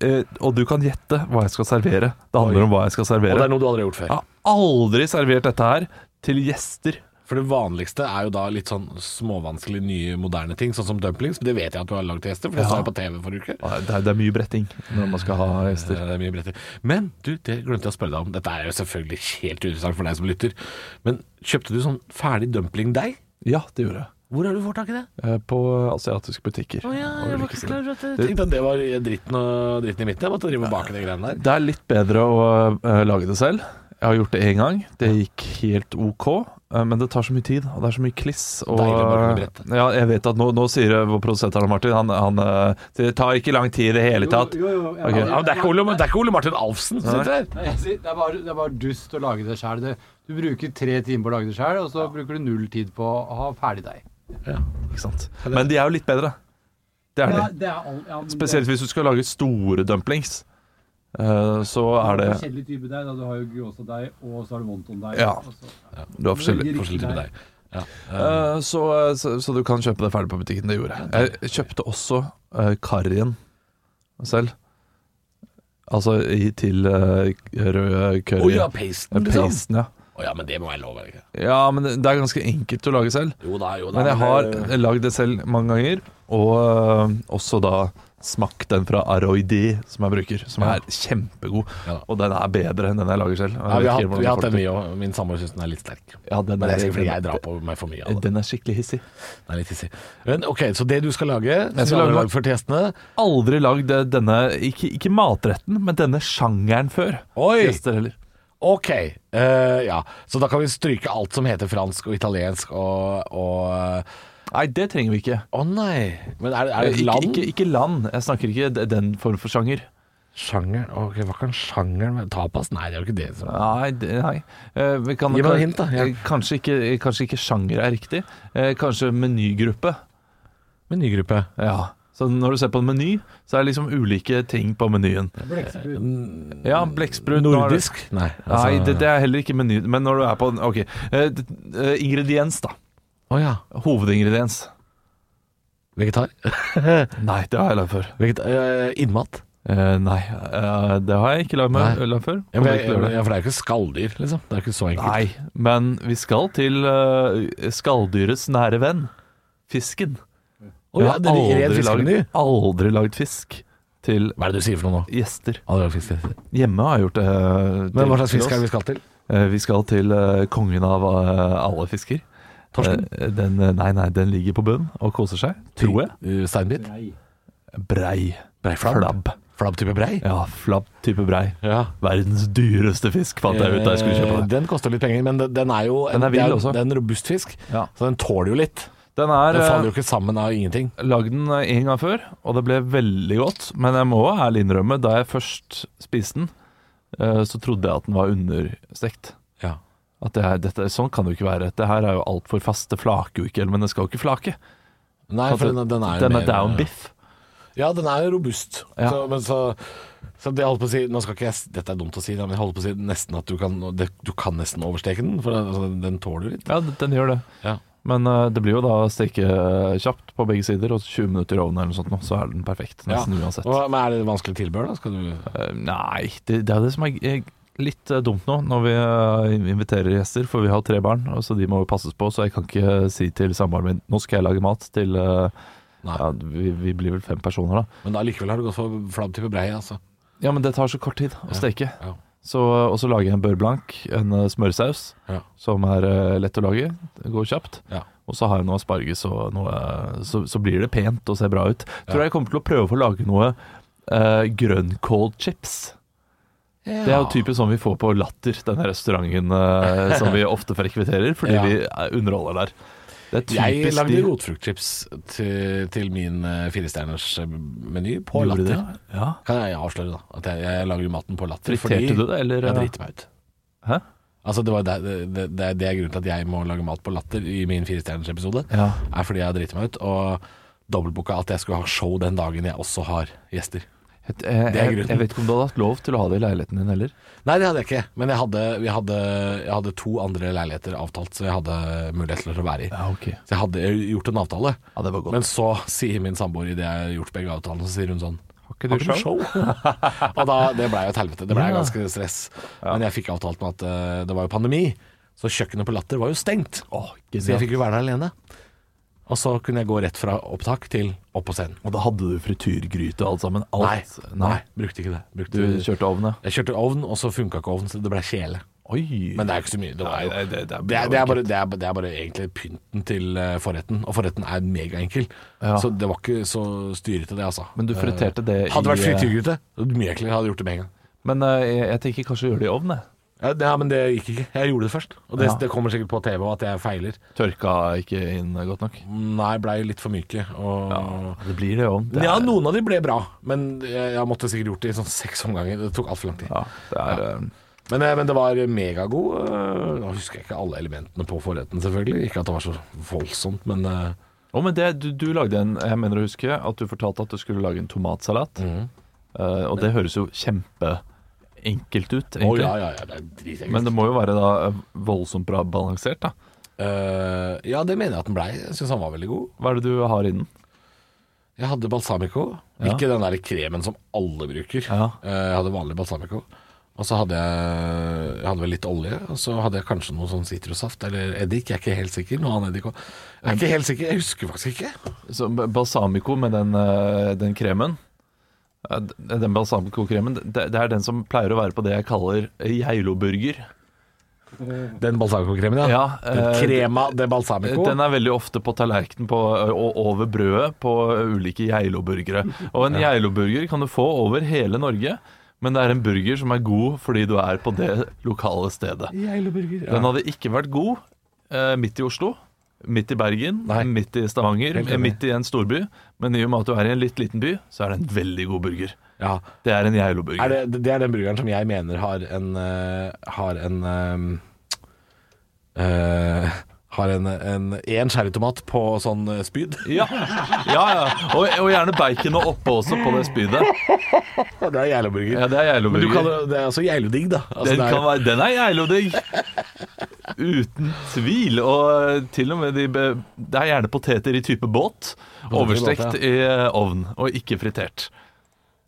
A: Eh, og du kan gjette hva jeg skal servere. Det handler om hva jeg skal
C: Og det
A: servere.
C: er noe du aldri har gjort før.
A: Jeg har aldri servert dette her til gjester.
C: For det vanligste er jo da litt sånn småvanskelig nye, moderne ting, sånn som dumplings. Men det vet jeg at du har lagd til gjester, for det
A: Ja.
C: sa jeg på TV forrige uke.
A: Ah, Det er, det er mye bretting når man skal ha gjester.
C: Det er mye bretter. Men du, det glemte jeg å spørre deg om. Dette er jo selvfølgelig helt uinteressant for deg som lytter. Men kjøpte du sånn ferdig dumpling-deig?
A: Ja, det gjorde jeg.
C: Hvor har du fått tak i det?
A: Eh, På asiatiske butikker. Og ulike steder.
C: Jeg tenkte at det var dritten, og, dritten i midten. Jeg måtte drive og bake de greiene der.
A: Det er litt bedre å eh, lage det selv. Jeg har gjort det én gang. Det gikk helt ok. eh, Men det tar så mye tid, og det er så mye kliss. Og, eh,
C: Deilig når det blir
A: ja, jeg vet at nå, nå sier vår produsent Arne Martin Han, han eh, sier det tar ikke lang tid i det hele tatt. Ok.
C: Ja, men det, er ikke Ole, det er ikke Ole Martin Alfsen som sitter her.
D: Nei, jeg sier, det, er bare, det er bare dust å lage det sjøl. Du bruker tre timer på å lage det sjøl, og så bruker du null tid på å ha ferdig deg.
A: Ikke sant? Men de er jo litt bedre. Det er de.
D: det er all, ja, men det-
A: Spesielt hvis du skal lage store dumplings. eh, Så er det
D: forskjellig type deig. da. Du har jo gråstadeig, og så har du wontondeig.
A: Ja.
D: og så-
A: Du har forskjellig
D: Veldig
C: Forskjellig
D: riktig
C: med
D: deig.
C: deg. Ja.
A: Eh, så, så, så du kan kjøpe det ferdig på butikken. Det gjorde jeg. Jeg kjøpte også uh, karrien selv. Altså i, til eh, rød
C: Å
A: curry.
C: ja,
A: Eh,
C: pasten, liksom.
A: Pasten, ja.
C: Å ja, men det må være lov, er det ikke?
A: Ja, men det det er ganske enkelt å lage selv.
C: Jo da, jo da.
A: Men jeg har
C: det-
A: lagd det selv mange ganger. Og eh, også da smakt den fra Aroidi, som jeg bruker. Som er kjempegod.
C: Ja.
A: Og den er bedre enn den jeg lager selv. og jeg
C: Ja,
A: vet
C: vi har,
A: ikke
C: hatt-
A: hvordan folk
C: vi har hatt den,
A: tror.
C: vi òg. Min samboer syns den er litt sterk.
A: Ja, den
C: Men det er
A: er-
C: sikkert fordi jeg drar på meg for mye av det.
A: Den er skikkelig hissig.
C: Det er litt hissig. Men ok, så det du skal lage, som
A: Jeg skal
C: du har
A: lage-
C: lagd for til gjestene
A: aldri lagd eh, denne, ikke, ikke matretten, men denne sjangeren før.
C: Oi!
A: Gjester heller.
C: Ok, eh, ja. Så da kan vi stryke alt som heter fransk og italiensk og og, eh,
A: Nei, det trenger vi ikke. Eh,
C: Å nei! Men er, det- er det
A: Ikke,
C: land?
A: ikke, ikke land. Jeg snakker ikke d- den form for sjanger.
C: Sjangeren Ok, hva kan sjangeren være? Tapas? Nei, det er jo ikke det. som-
A: Nei, det- nei. Eh, vi kan,
C: Gi meg noen hint, da. Ja.
A: eh, Kanskje, ikke, kanskje ikke sjanger er riktig. Eh, Kanskje menygruppe.
C: Menygruppe.
A: Ja. Så når du ser på en meny, så er det liksom ulike ting på menyen.
D: Blekksprut.
A: Ja, blekksprut nå er det-
C: Nordisk? Nei. altså-
A: Nei, det, det er heller ikke meny. Men når du er på en Ok. Eh, d- eh, ingrediens, da.
C: Å ja.
A: Hovedingrediens.
C: Vegetar?
A: Nei, det har jeg lagd før.
C: Veget eh, innmat?
A: Eh, nei, eh, det har jeg ikke lagd meg
C: Nei.
A: lagd før.
C: Ja,
A: Kommer
C: men,
A: ikke til å gjøre det.
C: ja, for det er jo ikke skalldyr, liksom. Det er jo ikke så enkelt.
A: Nei, men vi skal til eh, skalldyrets nære venn, fisken.
C: Å ja, det er ren fiskemeny.
A: lagd, aldri lagd fisk til
C: Hva er det du sier for noe nå?
A: gjester.
C: Aldri lagd fisk. til.
A: Hjemme har jeg gjort det. eh,
C: Men
A: til-
C: hva slags
A: til
C: fisk er
A: oss.
C: det vi skal til?
A: Eh, vi skal til eh, kongen av eh, alle fisker.
C: Torsken?
A: Eh, den, eh, nei, nei, den ligger på bunnen og koser seg, tror jeg.
C: Uh, Steinbit?
D: Brei.
A: brei. Flabb.
C: Flabb type brei?
A: Ja, flabb type brei.
C: Ja.
A: Verdens dyreste fisk, fant jeg ut da jeg skulle kjøpe
C: Eh,
A: den.
C: Den koster litt penger, men den- den er jo
A: Den er
C: det
A: vill
C: jo-
A: også.
C: Det er en robust fisk,
A: Ja.
C: så den tåler jo litt.
A: Den er
C: Den faller
A: eh,
C: jo ikke sammen av ingenting.
A: lagd den eh, en gang før, og det ble veldig godt. Men jeg må ærlig innrømme, da jeg først spiste den, eh, så trodde jeg at den var understekt.
C: Ja.
A: At det her, dette, sånn kan det jo ikke være. Det her er jo altfor fast. Det flaker jo ikke, men det skal jo ikke flake.
C: Nei, for
A: Altså,
C: den, den er jo
A: Den
C: mer-
A: er down biff.
C: Ja, den er jo robust.
A: Ja.
C: Så, men så, så det jeg holdt på å si Nå skal ikke jeg, Dette er dumt å si, da, men jeg holdt på å si nesten at du kan, det, du kan nesten oversteke den, for den, altså, den tåler jo litt.
A: Ja, den gjør det.
C: Ja.
A: Men eh, det blir jo da steke eh, kjapt på begge sider, og 20 minutter i ovnen eller noe sånt, nå, så er den perfekt. Nesten uansett.
C: Og, men er det vanskelig tilbør, da? Skal du
A: Eh, Nei, det, det er det som er eh, litt eh, dumt nå, når vi eh, inviterer gjester, for vi har tre barn, og så de må jo passes på, så jeg kan ikke si til samboeren min nå skal jeg lage mat til eh,
C: Nei.
A: ja, vi, vi blir vel fem personer, da.
C: Men da likevel har du gått for flabb type brei, altså.
A: Ja, men det tar så kort tid å steke.
C: ja.
A: Så, eh, og så lager jeg en beurre blanc, en eh, smørsaus,
C: Ja.
A: som er eh, lett å lage. Det går kjapt.
C: Ja.
A: Og så har jeg noe asparges, og noe, eh, så, så blir det pent og ser bra ut. Tror jeg kommer til å prøve å lage noe eh, grønnkålchips. Det er jo typisk sånn vi får på Latter, denne restauranten eh, som vi ofte frekvitterer, fordi
C: Ja.
A: vi eh, underholder der. Det er
C: Jeg
A: typisk
C: lagde
A: de-
C: rotfruktchips til, til min eh, firestjerners eh, meny på
A: Gjorde
C: Latter.
A: det? Ja.
C: Kan jeg avsløre, da. At jeg, jeg lager jo maten på Latter. fordi-
A: Friterte du det, eller? eh?
C: Jeg driter meg ut.
A: Hæ?
C: Altså det, var der, det, det, det er grunnen til at jeg må lage mat på latter i min firestjerners episode.
A: Ja.
C: Er fordi jeg driter meg ut og dobbeltbooka at jeg skulle ha show den dagen jeg også har gjester.
A: Et, eh,
C: Det er
A: jeg,
C: grunnen.
A: jeg vet ikke om du hadde hatt lov til å ha det i leiligheten din heller.
C: Nei, det hadde jeg ikke. Men jeg hadde, vi hadde, jeg hadde to andre leiligheter avtalt, så jeg hadde mulighet til å være i.
A: Ja, ok.
C: Så jeg hadde gjort en avtale.
A: Ja, det var godt.
C: Men så sier min samboer idet jeg har gjort begge avtalene, så sier hun sånn
A: har ikke
C: Har ikke du show? og da, det blei jo et helvete. Det blei
A: Ja.
C: ganske stress. Men jeg fikk avtalt med at eh, det var jo pandemi, så kjøkkenet på Latter var jo stengt. så jeg fikk jo være der alene. Og så kunne jeg gå rett fra opptak til opp på scenen.
A: Og da hadde du frityrgryte og alt sammen? Alt.
C: Nei, nei, brukte ikke det.
A: Du
C: Brukte,
A: kjørte ovn, ja?
C: jeg kjørte ovn, og så funka ikke ovnen, så det blei kjele.
A: Oi.
C: Men det er jo ikke så mye. Det, var jo,
A: Nei,
C: det,
A: det- det- det er-
C: er, det, er bare, det, er, det er bare egentlig pynten til eh, forretten, og forretten er megaenkel.
A: Ja.
C: Så det var ikke så styrete, det, altså.
A: Men du friterte det
C: Eh, Hadde det vært
A: i, eh,
C: frityrgryte, mye enklere. Hadde jeg gjort det med en gang.
A: Men eh, jeg, jeg tenker kanskje å gjøre det i ovn, jeg.
C: Ja, det, ja, men det gikk ikke. Jeg gjorde det først. Og det,
A: Ja.
C: det kommer sikkert på TV og at jeg feiler.
A: Tørka ikke inn godt nok.
C: Nei, blei litt for myke. Og...
A: Mm, Det blir det i ovn. Det
C: Ja,
A: er-
C: noen av de ble bra, men jeg, jeg måtte sikkert gjort det i sånn seks omganger. Det tok altfor lang tid.
A: ja, det er, eh,
C: Men, eh, men det var megagod. eh, Nå husker jeg ikke alle elementene på forretten, selvfølgelig. Ikke at det var så voldsomt, men eh,
A: Å, men det, du, du lagde en Jeg mener å huske at du fortalte at du skulle lage en tomatsalat. Eh, og det høres jo kjempeenkelt ut,
C: Å
A: egentlig.
C: ja, ja, ja, det er dritekkelt.
A: Men det må jo være da eh, voldsomt bra balansert, da.
C: Eh, ja, det mener jeg at den blei. Jeg syns han var veldig god.
A: Hva er det du har i den?
C: Jeg hadde balsamico.
A: Ja.
C: Ikke den der kremen som alle bruker.
A: Ja.
C: Eh, Jeg hadde vanlig balsamico. Og så hadde jeg, jeg hadde vel litt olje, og så hadde jeg kanskje noe sånn sitrussaft eller eddik. Jeg er ikke helt sikker. Noe annet eddik også. Jeg er ikke helt sikker, jeg husker faktisk ikke.
A: Så ba- balsamico med den, eh, den kremen eh, d- Den balsamico-kremen det, det er den som pleier å være på det jeg kaller geilo-burger
C: Den balsamico-kremen, ja.
A: Ja,
C: den
A: eh,
C: crema de balsamico.
A: Den er veldig ofte på tallerkenen på, og over brødet på eh, ulike geilo-burgere Og en geilo-burger kan du få over hele Norge Men det er en burger som er god fordi du er på det lokale stedet
C: Geileburger.
A: Den hadde ikke vært god eh, midt i Oslo, midt i Bergen,
C: Nei.
A: midt i Stavanger, eh,
C: Helt enig.
A: midt i en storby. Men i og med at du er i en litt liten by, så er det en veldig god burger.
C: Ja. ja.
A: Det er en Geilo-burger.
C: Er det, det er den burgeren som jeg mener har en eh, Har en eh, eh, Har en En, en cherrytomat på sånn eh, spyd.
A: Ja, ja, ja. Og, og gjerne baconet oppå også, på det spydet.
C: Ja, det er Geileburger.
A: Ja, det er
C: Men du
A: Geilo-burger.
C: kaller det er altså Geilodigg, da. Altså,
A: Den,
C: det er-
A: kan være, den er Geilo-digg! Uten tvil. Og eh, til og med de be- Det er gjerne poteter i type båt. Overstekt i eh, ovn, og ikke fritert.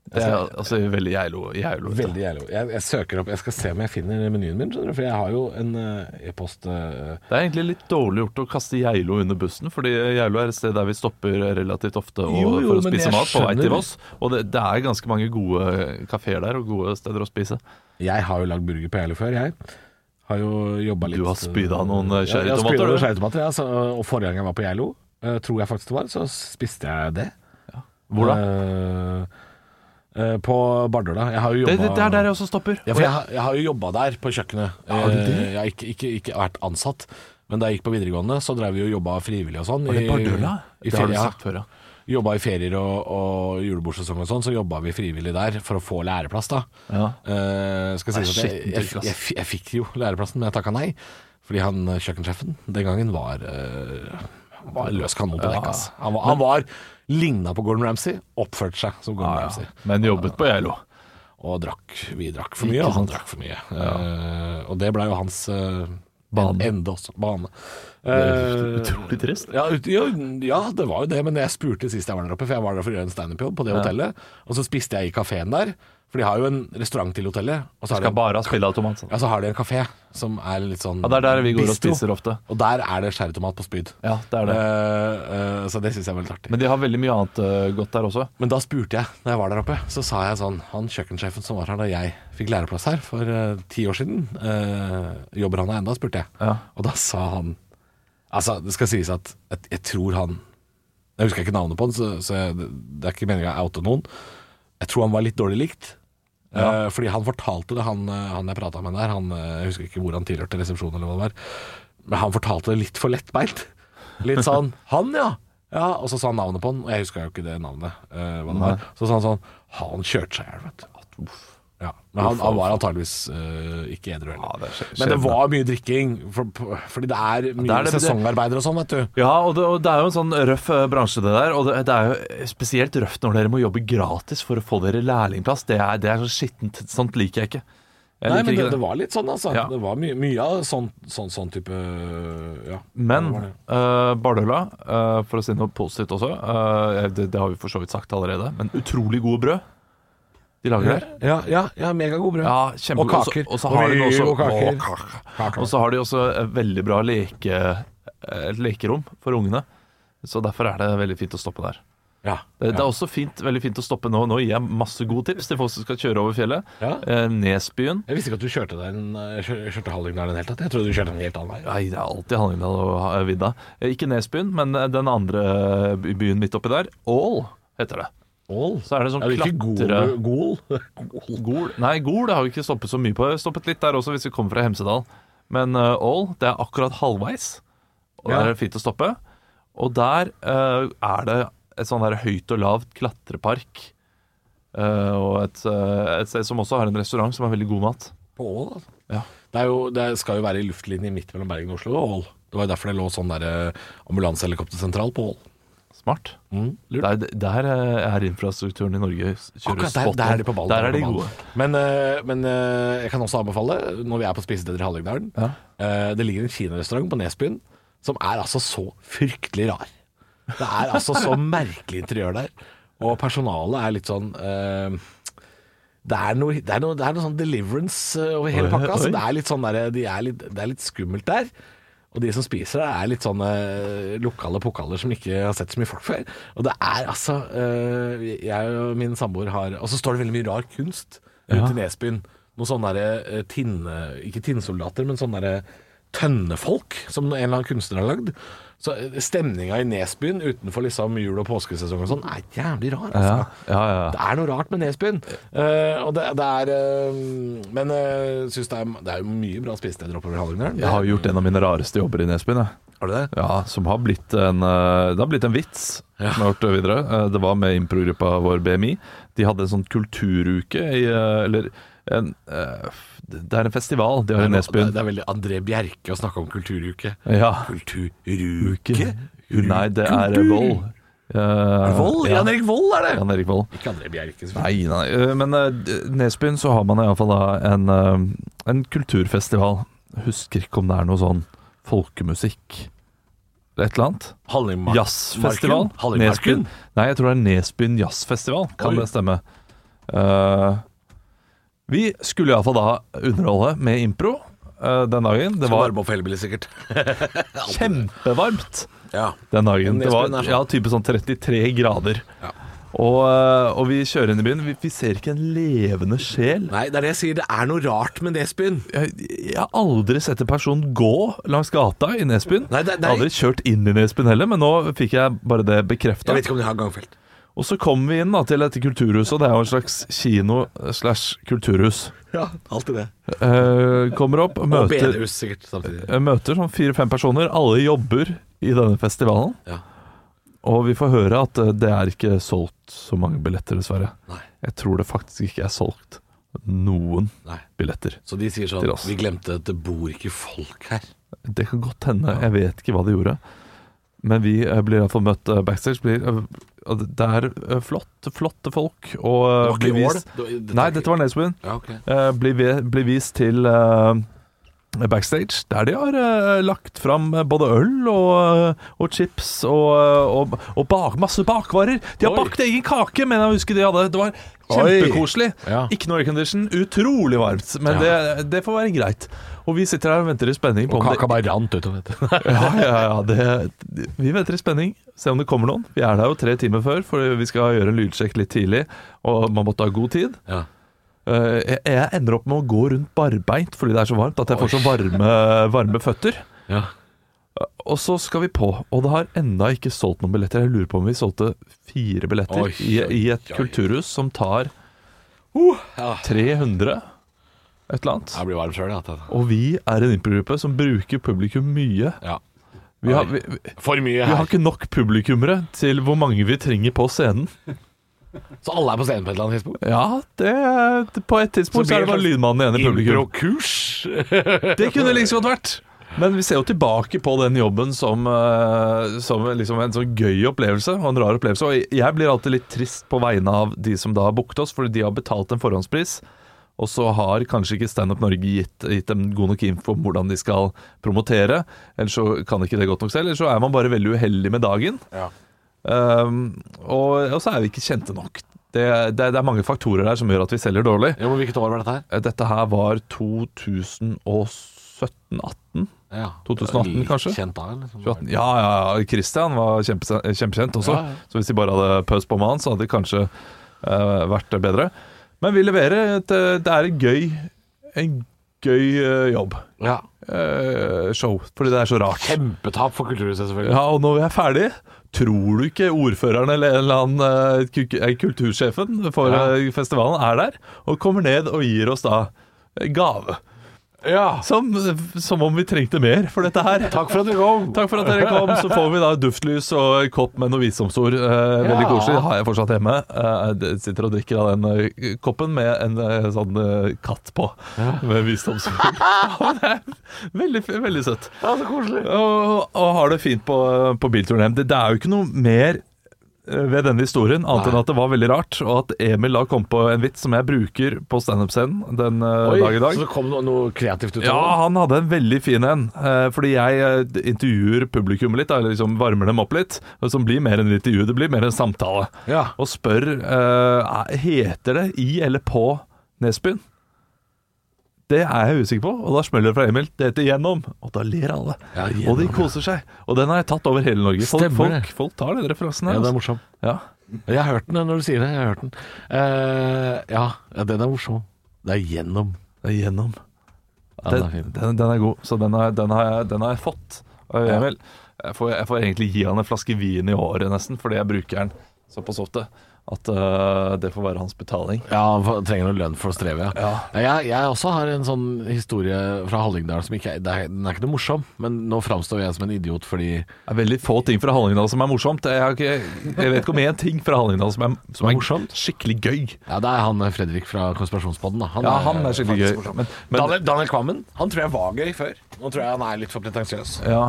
A: Det er altså veldig Geilo. Geilo
C: Veldig jævlig. Jeg, jeg søker opp Jeg skal se om jeg finner menyen min, skjønner du. For jeg har jo en eh, e-post eh,
A: Det er egentlig litt dårlig gjort å kaste Geilo under bussen, fordi Geilo er et sted der vi stopper relativt ofte og,
C: Jo, jo,
A: for å
C: men
A: spise
C: jeg
A: mat på vei til
C: skjønner.
A: Voss. Og det, det er ganske mange gode kafeer der og gode steder å spise.
C: Jeg har jo lagd burger på Jælo før, jeg. Har jo jobba litt
A: Du har spyda noen, eh,
C: Ja, jeg har
A: cherrytomater,
C: spyda noen
A: du.
C: cherrytomater, ja, så- og forrige gang jeg var på Jælo, eh, tror jeg faktisk det var, så spiste jeg det.
A: Hvor da?
C: Eh, eh, på Bardøla. Jeg har jo
A: Det,
C: jobba
A: det, det er der jeg også stopper.
C: Ja, for jeg, har- jeg har jo jobba der, på kjøkkenet.
A: Har du det?
C: Eh, Jeg har ikke, ikke, ikke vært ansatt, men da jeg gikk på videregående, så drev vi og jobba frivillig og sånn.
A: Var det
C: i-
A: Bardøla? Det har
C: I
A: du
C: ferie, ja.
A: sagt før, ja.
C: Jobba i ferier og, og julebordsesong og sånn, så jobba vi frivillig der for å få læreplass, da.
A: ja. altså.
C: Eh, skal
A: Det er
C: jeg si at jeg,
A: skittent
C: jeg,
A: trykk, ass.
C: jeg, jeg fikk jo læreplassen, men jeg takka nei. Fordi han eh, kjøkkensjefen den gangen var, eh, han var løs kanon på dekk. ass. Han var, han var ligna på Gordon Ramsay, oppførte seg som Gordon Ramsay.
A: Men jobbet på Geilo.
C: Og drakk, vi drakk for mye,
A: Ikke
C: og han
A: sant.
C: drakk for mye. Eh, og det blei jo hans eh,
A: Bane.
C: ende også. Bane.
A: Det
C: Eh,
A: er utrolig trist.
C: ja, ut- jo, ja, det var jo det, men jeg spurte sist jeg var der oppe, for jeg var der for å gjøre en standup-jobb på det hotellet. Og så spiste jeg i kafeen der, for de har jo en restaurant til hotellet. Og så har de
A: Skal
C: en-
A: bare ha spilleautomat. sånn.
C: Ja, så har de en kafé som er litt sånn
A: Ja, det er der vi går og
C: bistro.
A: spiser ofte.
C: Og der er det skjæretomat på spyd.
A: Ja, det er det.
C: Eh, eh, så det syns jeg er veldig artig. Men,
A: Men de har veldig mye annet eh, godt der også.
C: da spurte jeg, når jeg var der oppe, så sa jeg sånn Han kjøkkensjefen som var her da jeg fikk læreplass her for eh, ti år siden, eh, jobber han her ennå, spurte jeg.
A: Ja.
C: Og da sa han Altså, det skal sies at jeg, jeg tror han Jeg husker ikke navnet på han, så, så jeg, det er ikke meninga å oute noen. Jeg tror han var litt dårlig likt. Eh, fordi han fortalte det, han, eh, han jeg prata med der han, eh, Jeg husker ikke hvor han tilhørte resepsjonen, eller hva det var. Men han fortalte det litt for lettbeint. Litt sånn 'Han, ja'. ja. Og så sa han navnet på han, og jeg huska jo ikke det navnet. eh, hva det var. Så sa han sånn 'Han kjørte seg i hjel', vet du. Ja. Men han, han var antageligvis eh, ikke edru heller.
A: det er skje-
C: Men
A: skjebne.
C: det var mye drikking, for, p- fordi det er mye
A: det er det-
C: sesongarbeidere og sånn, vet du.
A: Ja, og det, og det er jo en sånn røff eh, bransje det der, og det, det er jo spesielt røft når dere må jobbe gratis for å få dere lærlingplass. Det er, det er så skittent. Sånt liker jeg ikke. Jeg liker
C: Nei, men det,
A: ikke
C: det var litt sånn, altså.
A: Ja.
C: Det var mye, mye av sånn, sånn, sånn type Ja.
A: Men
C: det var det.
A: eh, Bardøla, eh, for å si noe positivt også, eh, det, det har vi for så vidt sagt allerede, men utrolig gode brød de lager der.
C: Ja, ja, ja megagod brød.
A: Ja, kjempe-
C: og kaker.
A: Og så, og så har de
C: Mye
A: også,
C: og kaker.
A: Å, Og så har de også et veldig bra leke, et lekerom for ungene. Så derfor er det veldig fint å stoppe der.
C: Ja,
A: Det, det er
C: ja.
A: også fint, veldig fint å stoppe nå. Nå gir jeg masse gode tips til folk som skal kjøre over fjellet.
C: Ja.
A: Eh, Nesbyen.
C: Jeg visste ikke at du kjørte deg en eh, kjør, kjørte Hallingdalen i det hele tatt. Jeg trodde du kjørte en helt annen vei.
A: Nei, det er alltid Hallingdal og eh, vidda. Eh, Ikke Nesbyen, men eh, den andre eh, by- byen midt oppi der. Ål heter det.
C: Ål?
A: Så er det sånn
C: Er det ikke
A: klatre...
C: Gol? Gol?
A: Gol? Nei, Gol det har vi ikke stoppet så mye på. Vi har Stoppet litt der også hvis vi kommer fra Hemsedal. Men eh, Ål, det er akkurat halvveis. Og
C: Ja.
A: der er det fint å stoppe. Og der eh, er det et sånn der høyt og lavt klatrepark. Eh, og et, eh, et sted som også har en restaurant som har veldig god mat.
C: På Ål, altså.
A: Ja.
C: Det, er jo, det skal jo være i luftlinje midt mellom Bergen og Oslo og Ål. Det var jo derfor det lå sånn der eh, ambulansehelikoptersentral på Ål.
A: Smart.
C: Mm, lurt.
A: Der, der eh, er infrastrukturen i Norge s- kjører
C: Akkurat der,
A: spot
C: der
A: on.
C: er de på ballen.
A: Der er de
C: på ballen.
A: gode.
C: Men, eh, men eh, jeg kan også anbefale, når vi er på spisesteder i Hallingdalen
A: Ja.
C: eh, Det ligger en kinarestaurant på Nesbyen som er altså så fryktelig rar. Det er altså så merkelig interiør der. Og personalet er litt sånn eh, det er, noe, det, er noe, det er noe sånn deliverance eh, over hele
A: Oi,
C: pakka. Så
A: oi.
C: det er litt sånn der, de er litt, det er litt skummelt der. Og de som spiser der, er litt sånne eh, lokale pokaler som ikke har sett så mye folk før. Og det er altså eh, Jeg og min samboer har Og så står det veldig mye rar kunst ute i Nesbyen. Noen sånne der, eh, tinne... Ikke tinnsoldater, men sånne der, eh, tønnefolk som en eller annen kunstner har lagd. Så eh, stemninga i Nesbyen utenfor liksom jul- og påskesesong og sånn er jævlig rar. Altså.
A: Ja, ja, ja.
C: Det er noe rart med Nesbyen. Eh, og det, det er eh, Men jeg syns det, er- det er jo mye bra spisesteder oppover Hallingdalen.
A: Jeg har gjort en av mine rareste jobber i Nesbyen. Jeg.
C: Har du det?
A: Ja, som har blitt en, eh, det har blitt en vits som jeg har hørt videre. Eh, Det var med improgruppa vår BMI. De hadde en sånn kulturuke i eh, Eller en, eh, Det er en festival de har i
C: Det er,
A: Nesbyen.
C: det er veldig André Bjerke å snakke om kulturuke.
A: Ja.
C: Kulturuke?
A: Nei, det er eh, Vold. Eh,
C: Vold?
A: Ja,
C: Jan Erik Vold er det!
A: Jan Erik Vold.
C: Ikke André Bjerke, selvfølgelig.
A: Nei, nei. eh, Men eh, d- Nesbyen så har man iallfall da en, eh, en kulturfestival. Husker ikke om det er noe sånn folkemusikk eller et eller annet.
C: Hallingmarken.
A: Jazzfestival? Nesbyen?
C: Hallingmarken.
A: Nei, jeg tror det er Nesbyen jazzfestival. Kan
C: Oi.
A: det stemme? Eh, vi skulle iallfall da underholde med impro eh, den dagen. Det
C: Det var
A: var
C: Varme og Felbil, sikkert.
A: kjempevarmt
C: Ja.
A: den dagen. Det var
C: Nesbyen er sånn.
A: ja, type sånn 33 grader.
C: Ja.
A: Og, eh, og vi kjører inn i byen. Vi, vi ser ikke en levende sjel.
C: Nei, det er det jeg sier. Det er noe rart med Nesbyen.
A: Jeg, jeg har aldri sett en person gå langs gata i Nesbyen.
C: Nei, det- det er-
A: Aldri kjørt inn i Nesbyen heller, men nå fikk jeg bare det
C: Jeg
A: bekrefta.
C: vet ikke om de har gangfelt.
A: Og så kommer vi inn da til dette kulturhuset, og det er jo en slags kino slash kulturhus.
C: Ja, alltid det.
A: Eh, kommer opp,
C: Og
A: møter,
C: bedehus sikkert samtidig.
A: eh, møter sånn fire-fem personer. Alle jobber i denne festivalen.
C: Ja.
A: Og vi får høre at eh, det er ikke solgt så mange billetter, dessverre.
C: Nei.
A: Jeg tror det faktisk ikke er solgt noen
C: Nei.
A: billetter.
C: Så de sier sånn
A: Til oss.
C: Vi glemte at det bor ikke folk her.
A: Det kan godt hende, jeg vet ikke hva de gjorde. Men vi eh, blir iallfall møtt eh, backstage. Blir, eh, og det- det er eh, flott, flotte folk. Og eh,
C: Det var ikke
A: blir
C: i år,
A: vist-
C: det. Det- dette
A: Nei,
C: er ikke-
A: dette var Nesbyen.
C: Ja, ok.
A: Eh, blir, vi- blir vist til eh, backstage, der de har eh, lagt fram eh, både øl og, eh, og chips og, eh, og, og bak, masse bakvarer. De har
C: Oi.
A: bakt egen kake, men jeg husker de hadde. Det var kjempekoselig.
C: Ja.
A: Ikke noe aircondition, utrolig varmt, men det, det får være greit. Og vi sitter her og venter i spenning på
C: Og
A: om det
C: kaka bare rant utover dette.
A: ja, ja, ja, det, Vi venter i spenning, se om det kommer noen. Vi er der jo tre timer før, for vi skal gjøre en lydsjekk litt tidlig, og man måtte ha god tid.
C: Ja.
A: Eh, jeg, jeg ender opp med å gå rundt barbeint fordi det er så varmt at jeg får så varme, varme føtter.
C: Ja.
A: Og så skal vi på, og det har enda ikke solgt noen billetter. Jeg lurer på om vi solgte fire billetter
C: Oi,
A: i, i et
C: oi, oi.
A: kulturhus som tar
C: ja.
A: 300, et eller annet.
C: Jeg blir varm sjøl, jeg.
A: Og vi er en improgruppe som bruker publikum mye.
C: Ja.
A: Vi har, vi, vi
C: For mye
A: har
C: her.
A: ikke nok publikummere til hvor mange vi trenger på scenen.
C: Så alle er på scenen på et eller annet tidspunkt?
A: Ja, det, det, på et tidspunkt så
C: Så
A: er det sånn bare
C: blir det
A: lydmannen igjen i publikum.
C: Impro-kurs?
A: Det kunne det liksom godt vært. Men vi ser jo tilbake på den jobben som, eh, som liksom en sånn gøy opplevelse og en rar opplevelse. Og jeg blir alltid litt trist på vegne av de som da har booket oss, fordi de har betalt en forhåndspris. Og så har kanskje ikke Standup Norge gitt, gitt dem god nok info om hvordan de skal promotere. Eller så kan ikke det godt nok selv, eller så er man bare veldig uheldig med dagen.
C: Ja.
A: Ehm, og, og så er vi ikke kjente nok. Det, det, det er mange faktorer der som gjør at vi selger dårlig.
C: Ja, men Hvilket år var dette her?
A: Eh, Dette her var 2017-18.
C: Ja.
A: 2018
C: Litt
A: kanskje?
C: Kjent da, liksom. eller?
A: 2018. Ja, ja, ja. Christian var kjempe, kjempekjent også.
C: Ja, ja.
A: Så hvis de bare hadde pøst på med han, så hadde det kanskje eh, vært bedre. Men vi leverer. Et, eh, det er en gøy, en gøy eh, jobb.
C: Ja.
A: Eh, show. Fordi det er så rart.
C: Kjempetap for Kulturhuset, selvfølgelig.
A: Ja, og når vi er ferdig Tror du ikke ordføreren eller en eller annen eh, ku- eh, kultursjefen for
C: Ja.
A: eh, festivalen er der, og kommer ned og gir oss da eh, gave?
C: Ja.
A: Som, som om vi trengte mer for dette her.
C: Takk for at dere kom.
A: Takk for at dere kom. Så får vi da duftlys og en kopp med noen visdomsord. Eh, Veldig
C: Ja.
A: koselig. Har jeg fortsatt hjemme. Eh, jeg sitter og drikker av den eh, koppen med en eh, sånn eh, katt på, med visdomsord. Ja, det er veldig, veldig søtt.
C: Ja, så koselig.
A: Og, og har det fint på, på bilturen hjem. Det, det er jo ikke noe mer eh, ved denne historien, annet
C: Nei.
A: enn at det var veldig rart, og at Emil da kom på en vits som jeg bruker på standup-scenen den eh,
C: Oi,
A: dag i dag.
C: Så det kom noe, noe kreativt ut av
A: Ja,
C: det?
A: han hadde en veldig fin en. eh, Fordi jeg eh, intervjuer publikummet litt, da, eller liksom varmer dem opp litt. og Som blir mer enn et intervju, det blir mer en samtale.
C: Ja.
A: Og spør eh, Heter det i eller på Nesbyen. Det er jeg usikker på, og da smeller det fra Emil. Det heter Gjennom. Og da ler alle.
C: Ja, Gjennom,
A: og de koser seg. Og den har jeg tatt over hele Norge. Folk,
C: Stemmer det.
A: folk, folk tar den referansen her.
C: ja, den
A: altså.
C: er morsom.
A: Ja.
C: Jeg har hørt den når du sier det. Jeg har hørt den. Eh, ja, ja, den er morsom. Det er gjennom.
A: Det er Gjennom.
C: Ja, den er
A: Den,
C: fin.
A: den, den er god, så den har, den har, jeg, den har jeg fått av
C: Ja.
A: Emil. Jeg får, jeg får egentlig gi han en flaske vin i året nesten, fordi jeg bruker den såpass ofte at øh, det får være hans betaling.
C: Ja, han får- trenger noe lønn for å streve, ja.
A: Ja.
C: Jeg, jeg også har en sånn historie fra Hallingdal som ikke er, det er, den er ikke noe morsom, men nå framstår jeg som en idiot fordi
A: Det er veldig få ting fra Hallingdal som er morsomt. Jeg, har ikke, jeg vet ikke om én ting fra Hallingdal som er, som er
C: Morsomt?
A: skikkelig gøy.
C: Ja, det er han eh, Fredrik fra Konspirasjonspodden, da. Han
A: Ja, han er skikkelig
C: faktisk
A: gøy.
C: morsom.
A: Men, men
C: Daniel, Daniel Kvammen, han tror jeg var gøy før. Nå tror jeg han er litt for pretensiøs.
A: ja.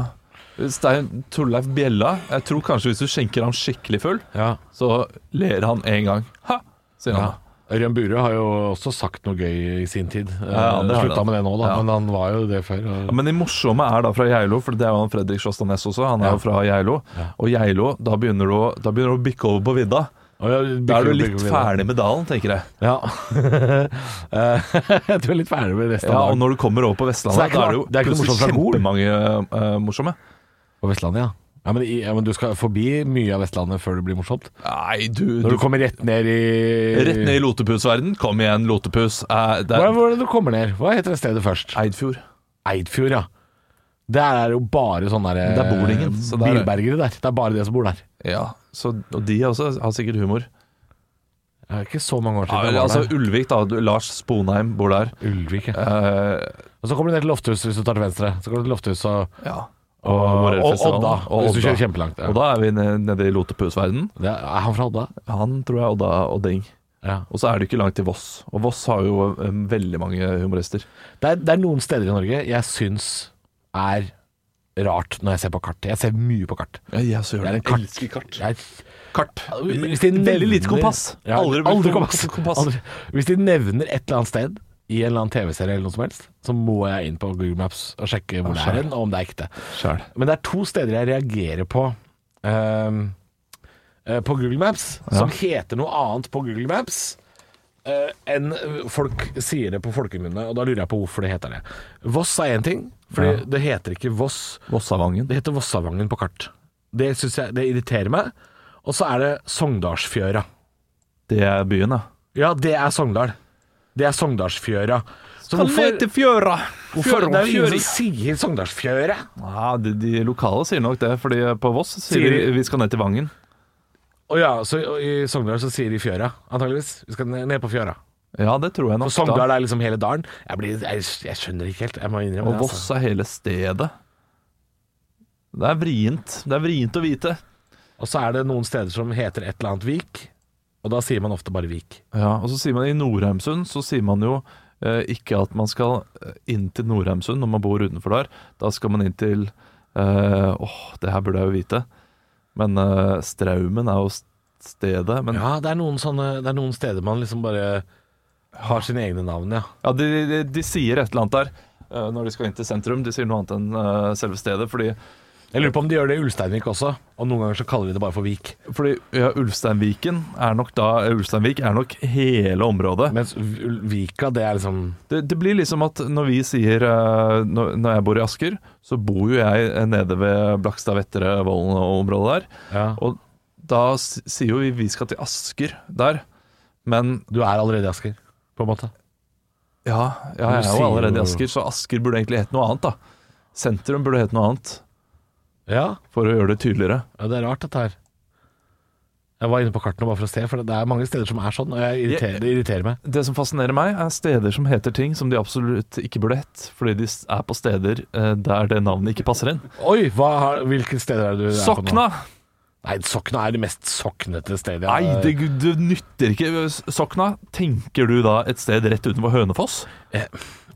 A: Stein Torleif Bjella, jeg tror kanskje hvis du skjenker ham skikkelig full,
C: Ja.
A: så ler han én gang. Ha! sier han.
C: Ja. Ørjan Burøe har jo også sagt noe gøy i sin tid.
A: Ja, det har
C: Slutta
A: han.
C: med det nå, da,
A: Ja.
C: men han var jo det før.
A: Ja, men de morsomme er da fra Geilo, for det er jo han Fredrik Sjåstad Næss også. Han er
C: Ja.
A: jo fra Geilo. Og Geilo, da begynner du å, da begynner du å bikke over på vidda.
C: Og jeg-
A: Da er du
C: bygger
A: litt
C: videre.
A: ferdig med dalen, tenker jeg.
C: Ja. Eh, du er litt ferdig med resten
A: Ja,
C: av
A: og
C: dagen.
A: når du kommer over på
C: Så det er
A: Vestlandet,
C: ikke
A: da er det jo
C: noe- det er ikke noe
A: plutselig
C: morsomt fra Gol.
A: kjempemange eh, morsomme.
C: På Vestlandet, ja. Ja men, i, ja, men du skal forbi mye av Vestlandet før det blir morsomt.
A: Nei, du, du
C: Når du kommer rett ned i
A: Rett ned i lotepusverden. Kom igjen, lotepus. Eh, det
C: Hva,
A: er
C: Hvor er det du kommer ned? Hva heter det stedet først?
A: Eidfjord.
C: Eidfjord, ja. Der er jo bare sånn sånne der,
A: Men der bor det ingen, så der-
C: bilbergere der. Det er bare det som bor der.
A: Ja, så, og de også har sikkert humor.
C: Det er ikke så mange
A: Ja,
C: år siden. jeg
A: eller,
C: var
A: altså
C: der.
A: Ulvik, da. Du- Lars Sponheim bor der.
C: Ulvik, ja.
A: Eh,
C: Og så kommer du ned til Lofthus hvis du tar til venstre. Så kommer du til Lofthus og,
A: ja.
C: og, og,
A: Morell Festival.
C: Odda,
A: Og
C: hvis du
A: Odda.
C: kjører kjempelangt. Ja.
A: Og da er vi nede, nede i lotepusverdenen.
C: Det er, er han fra Odda?
A: Han tror jeg Odda og Ding.
C: Ja.
A: Og så er det ikke langt til Voss. Og Voss har jo eh, veldig mange humorister.
C: Det er, det er noen steder i Norge jeg syns er rart når jeg ser på kart. Jeg ser mye på kart.
A: Ja, jeg også
C: Jeg er en
A: Jeg
C: kart.
A: elsker kart.
C: Jeg,
A: Kart.
C: hvis de nevner-
A: Veldig lite kompass.
C: Ja, aldri,
A: brukt
C: kompass. Aldri. Hvis de nevner et eller annet sted i en eller annen TV-serie eller noe som helst, så må jeg inn på Google Maps og sjekke hvor det er hen, og om det er ekte.
A: Sjæl.
C: Men det er to steder jeg reagerer på ehm, eh, på Google Maps, som heter noe annet på Google Maps eh, enn folk sier det på folkemunne, og da lurer jeg på hvorfor det heter det. Voss er én ting, for det heter ikke Voss,
A: Vossavangen.
C: det heter Vossavangen på kart. Det synes jeg, det irriterer meg. Og så er det Sogndalsfjøra.
A: Det er byen, ja.
C: Ja, det er Sogndal. Det er Sogndalsfjøra. Så
A: fjøra?
C: hvorfor det er jo ingen som sier Sogndalsfjøra?
A: Ja, de, de lokale sier nok det, fordi på Voss sier
C: Sier
A: de
C: de-
A: vi skal ned til Vangen.
C: Og ja, så i i Sogndal så sier de fjøra, antageligvis. Vi skal ned ned på fjøra.
A: Ja, det tror jeg
C: For
A: nok.
C: Sogndal
A: da.
C: er liksom hele dalen. Jeg, blir, jeg, jeg skjønner ikke helt, jeg må innrømme
A: Og
C: det. altså.
A: Voss er hele stedet. Det er vrient. Det er vrient å vite.
C: Altså. Og så er det noen steder som heter et eller annet Vik, og da sier man ofte bare Vik.
A: Ja, og så sier man i Nordheimsund så sier man jo eh, ikke at man skal eh, inn til Nordheimsund når man bor utenfor der. Da skal man inn til eh, Åh, det her burde jeg jo vite. Men eh, Straumen er jo st- stedet. Men ja,
C: Ja, det er noen, sånne, det er noen steder man liksom bare har sine egne navn, ja.
A: de, de, de sier et eller annet der eh, når de skal inn til sentrum. De sier noe annet enn eh, selve stedet. Fordi,
C: Jeg lurer på om de gjør det i Ulsteinvik også, og noen ganger så kaller de det bare for Vik.
A: fordi ja, Ulsteinviken er nok da Ulsteinvik er nok hele området.
C: Mens Ul- Vika, det er liksom
A: Det, det blir liksom at når vi sier eh, når, når jeg bor i Asker, så bor jo jeg eh, nede ved Blakstad, Vettere, Vollen og området der.
C: ja.
A: Og da s- sier jo vi vi skal til Asker der. Men
C: Du er allerede i Asker, på en måte.
A: ja, ja jeg er
C: Du sier
A: jo allerede i
C: jo-
A: Asker, så Asker burde egentlig hett noe annet, da. Sentrum burde hett noe annet,
C: Ja,
A: for å gjøre det tydeligere.
C: Ja, det er rart dette her. Jeg var inne på kartene bare for å se, for det er mange steder som er sånn, og jeg irriterer, det irriterer meg.
A: Det som fascinerer meg, er steder som heter ting som de absolutt ikke burde hett, fordi de s- er på steder eh, der det navnet ikke passer inn.
C: Oi, hva, har- hvilke steder er det du er på nå?
A: Sokna!
C: Nei, Sokna er det mest soknete stedet. jeg-
A: Nei, det, det nytter ikke. Sokna, tenker du da et sted rett utenfor Hønefoss?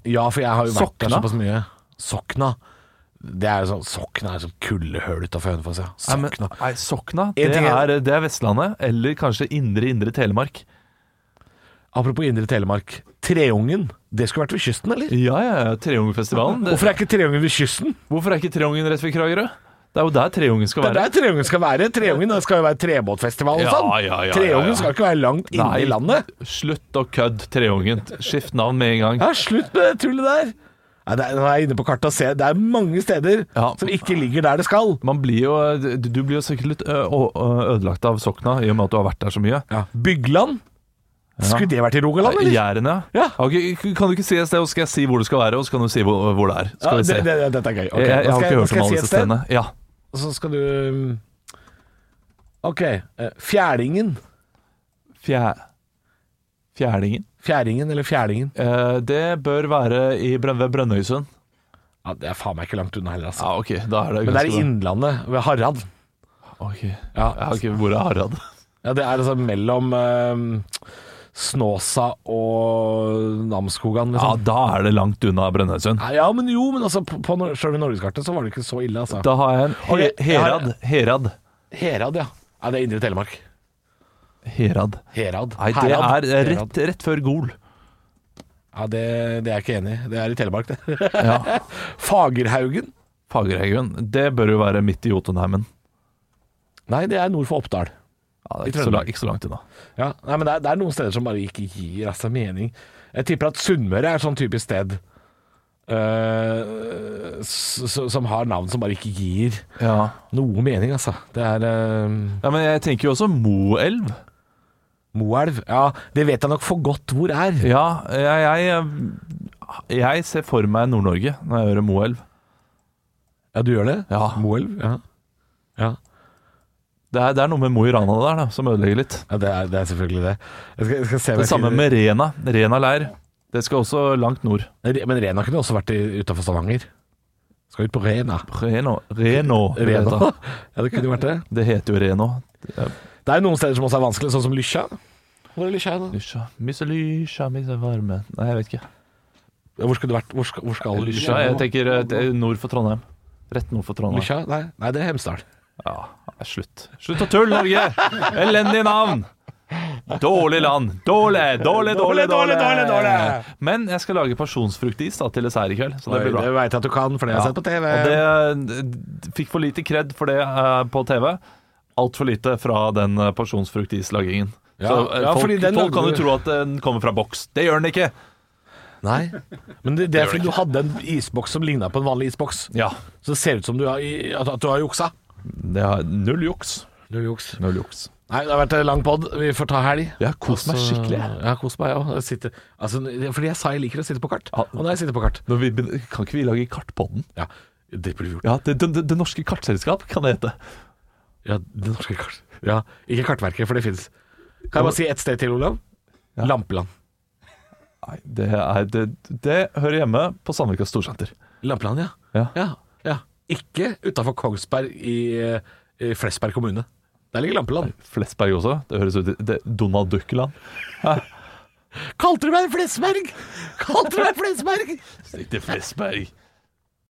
C: Ja, for jeg har jo vært der
A: Sokna?
C: såpass mye. Sokna. Det er jo sånn, Sokna er sånn kuldehull utafor Hønefoss, ja.
A: Nei, men-
C: Sokna.
A: Nei, Sokna,
C: En
A: det
C: ting er-
A: er, det er Vestlandet, eller kanskje indre, indre Telemark.
C: Apropos Indre Telemark. Treungen, det skulle vært ved kysten, eller?
A: Ja, ja, ja, Treungenfestivalen. Det,
C: Hvorfor er ikke Treungen ved kysten?
A: hvorfor er ikke Treungen rett ved Kragerø? Det er jo der Treungen skal
C: Det er
A: være.
C: der Treungen skal være. Treungen det skal jo være trebåtfestival og
A: Ja,
C: sånn.
A: ja, ja, ja, ja.
C: Treungen skal ikke være langt inne
A: Nei.
C: i landet.
A: Slutt å kødde, Treungen. Skift navn med en gang.
C: Ja, slutt med det tullet der! Nei, det er, nå er jeg inne på kartet og ser. Det er mange steder
A: Ja.
C: som ikke ligger der det skal.
A: Man blir jo, eh, du du blir jo sikkert litt ø- ø- ødelagt av Sokna, i og med at du har vært der så mye.
C: Bygland? Skulle det vært i Rogaland, eller?
A: Jæren, ja.
C: Ja.
A: Ok, Kan du ikke si et sted, og skal jeg si hvor du skal være, og så kan du si hvor, hvor det er? Skal vi se.
C: Ja, det, det, dette er gøy. Ok,
A: jeg, jeg
C: da
A: har
C: skal
A: ikke
C: da
A: hørt om
C: skal jeg si
A: alle
C: et
A: disse
C: sted,
A: stedene. Ja.
C: og Så skal du um, Ok. eh, Fjerdingen.
A: Fjæ... Fjælingen.
C: Fjæringen eller Fjerdingen.
A: Eh, det bør være i Brøn ved Brønnøysund.
C: Ja, det er faen meg ikke langt unna heller, altså.
A: Ja, ok, da er det
C: Men det er i
A: ganske
C: Innlandet, ved Harald.
A: bra. Ok.
C: Ja,
A: Ja, ok, hvor er Harald?
C: ja Det er altså mellom um, Snåsa og Namsskogan,
A: Ja,
C: liksom.
A: da er det langt unna Brønnøysund.
C: Ja, ja, men jo, men altså, på, på sjøl norgeskartet så var det ikke så ille, altså.
A: Da har jeg en he
C: Ok, jeg har-
A: Herad. Herad.
C: Herad, ja. ja det er Indre Telemark.
A: Herad.
C: Herad.
A: Nei, det
C: Herad.
A: er eh,
C: Herad.
A: rett, rett før Gol.
C: Ja, det, det er jeg ikke enig i. Det er i Telemark, det.
A: Ja.
C: Fagerhaugen?
A: Fagerhaugen. Det bør jo være midt i Jotunheimen.
C: Nei, det er nord for Oppdal.
A: Ja, det er
C: I
A: ikke så,
C: Trøndelag.
A: langt, ikke så langt unna.
C: Ja, nei, men det er, det er noen steder som bare ikke gir altså, mening. Jeg tipper at Sunnmøre er sånn typisk sted eh, s- s- som har navn som bare ikke gir
A: Ja.
C: noe mening, altså. Det er eh,
A: ja, Men jeg tenker jo også Moelv.
C: Moelv. Ja, det vet jeg nok for godt hvor er.
A: Ja, jeg, jeg, jeg ser for meg Nord-Norge når jeg hører Moelv.
C: Ja, du gjør det?
A: Ja.
C: Moelv? Ja. ja.
A: Det er, det er noe med Mo i Rana der da, som ødelegger litt.
C: Ja, det, er, det er selvfølgelig det. Jeg skal, jeg skal se
A: Det
C: hva jeg
A: samme
C: finner-
A: med Rena. Rena leir. Det skal også langt nord.
C: Re- Men Rena kunne også vært utafor Stavanger. Skal ut på Rena.
A: Reno. Reno. vil det
C: Rena.
A: hete.
C: Ja, det kunne vært det.
A: Det heter jo Reno.
C: Det er jo noen steder som også er vanskelig, sånn som Lykkja. Hvor er Lykkja? da?
A: Lysja, misse lysja, misse varme Nei, jeg vet ikke.
C: Ja, Hvor skulle det vært? Hvor skal, hvor skal
A: Lysja, jeg tenker eh, det er nord for Trondheim. Rett nord for Trondheim.
C: Lykkja? Nei, nei, det er Hemsedal.
A: Ja, nei, slutt. Slutt å tulle, Norge! Elendig navn! Dårlig land. Dårlig, dårlig, dårlig, dårlig.
C: dårlig, dårlig.
A: Men jeg skal lage pasjonsfruktis da, til dessert i kveld, så det blir bra.
C: Det veit jeg at du kan, for det har jeg
A: Ja.
C: sett på TV.
A: Og det d- fikk for lite kred for det eh, på TV. Altfor lite fra den eh, pasjonsfruktislagingen.
C: Ja,
A: så eh,
C: ja,
A: folk,
C: fordi den
A: folk
C: lagde
A: kan jo
C: du-
A: tro at den kommer fra boks. Det gjør den ikke!
C: Nei, men det, det er fordi du hadde en isboks som ligna på en vanlig isboks.
A: Ja,
C: Så det ser ut som du har, i- at, at du har juksa.
A: det er null juks.
C: Null juks.
A: Null juks. Altså-
C: Nei, det har vært en lang pod. Vi får ta helg.
A: Jeg har kost meg
C: Så-
A: skikkelig. jeg.
C: Ja, jeg koser meg, jeg også. Jeg sitter- Altså, det- fordi jeg sa jeg liker å sitte på kart,
A: Ja.
C: og nå har jeg sittet på kart.
A: Når vi, begynner- kan ikke vi lage Kartpodden?
C: Ja, det burde vi gjort.
A: Ja, det, det, det, det norske kartselskap kan det hete.
C: Ja, det norske kart. Ja, ikke Kartverket, for det fins. Kan jeg bare si ett sted til, Olav?
A: Ja.
C: Lampeland.
A: Nei, det, er, det, det hører hjemme på Sandvika Storsenter.
C: Lampeland, ja.
A: Ja.
C: ja, ja. Ikke utafor Kongsberg i, eh, i Flesberg kommune. Der ligger Lampeland.
A: Flesberg også. Det høres ut som Donald Duck-land.
C: Kalte du meg Flesberg? Kalte du meg Flesberg?
A: Stikk til Flesberg.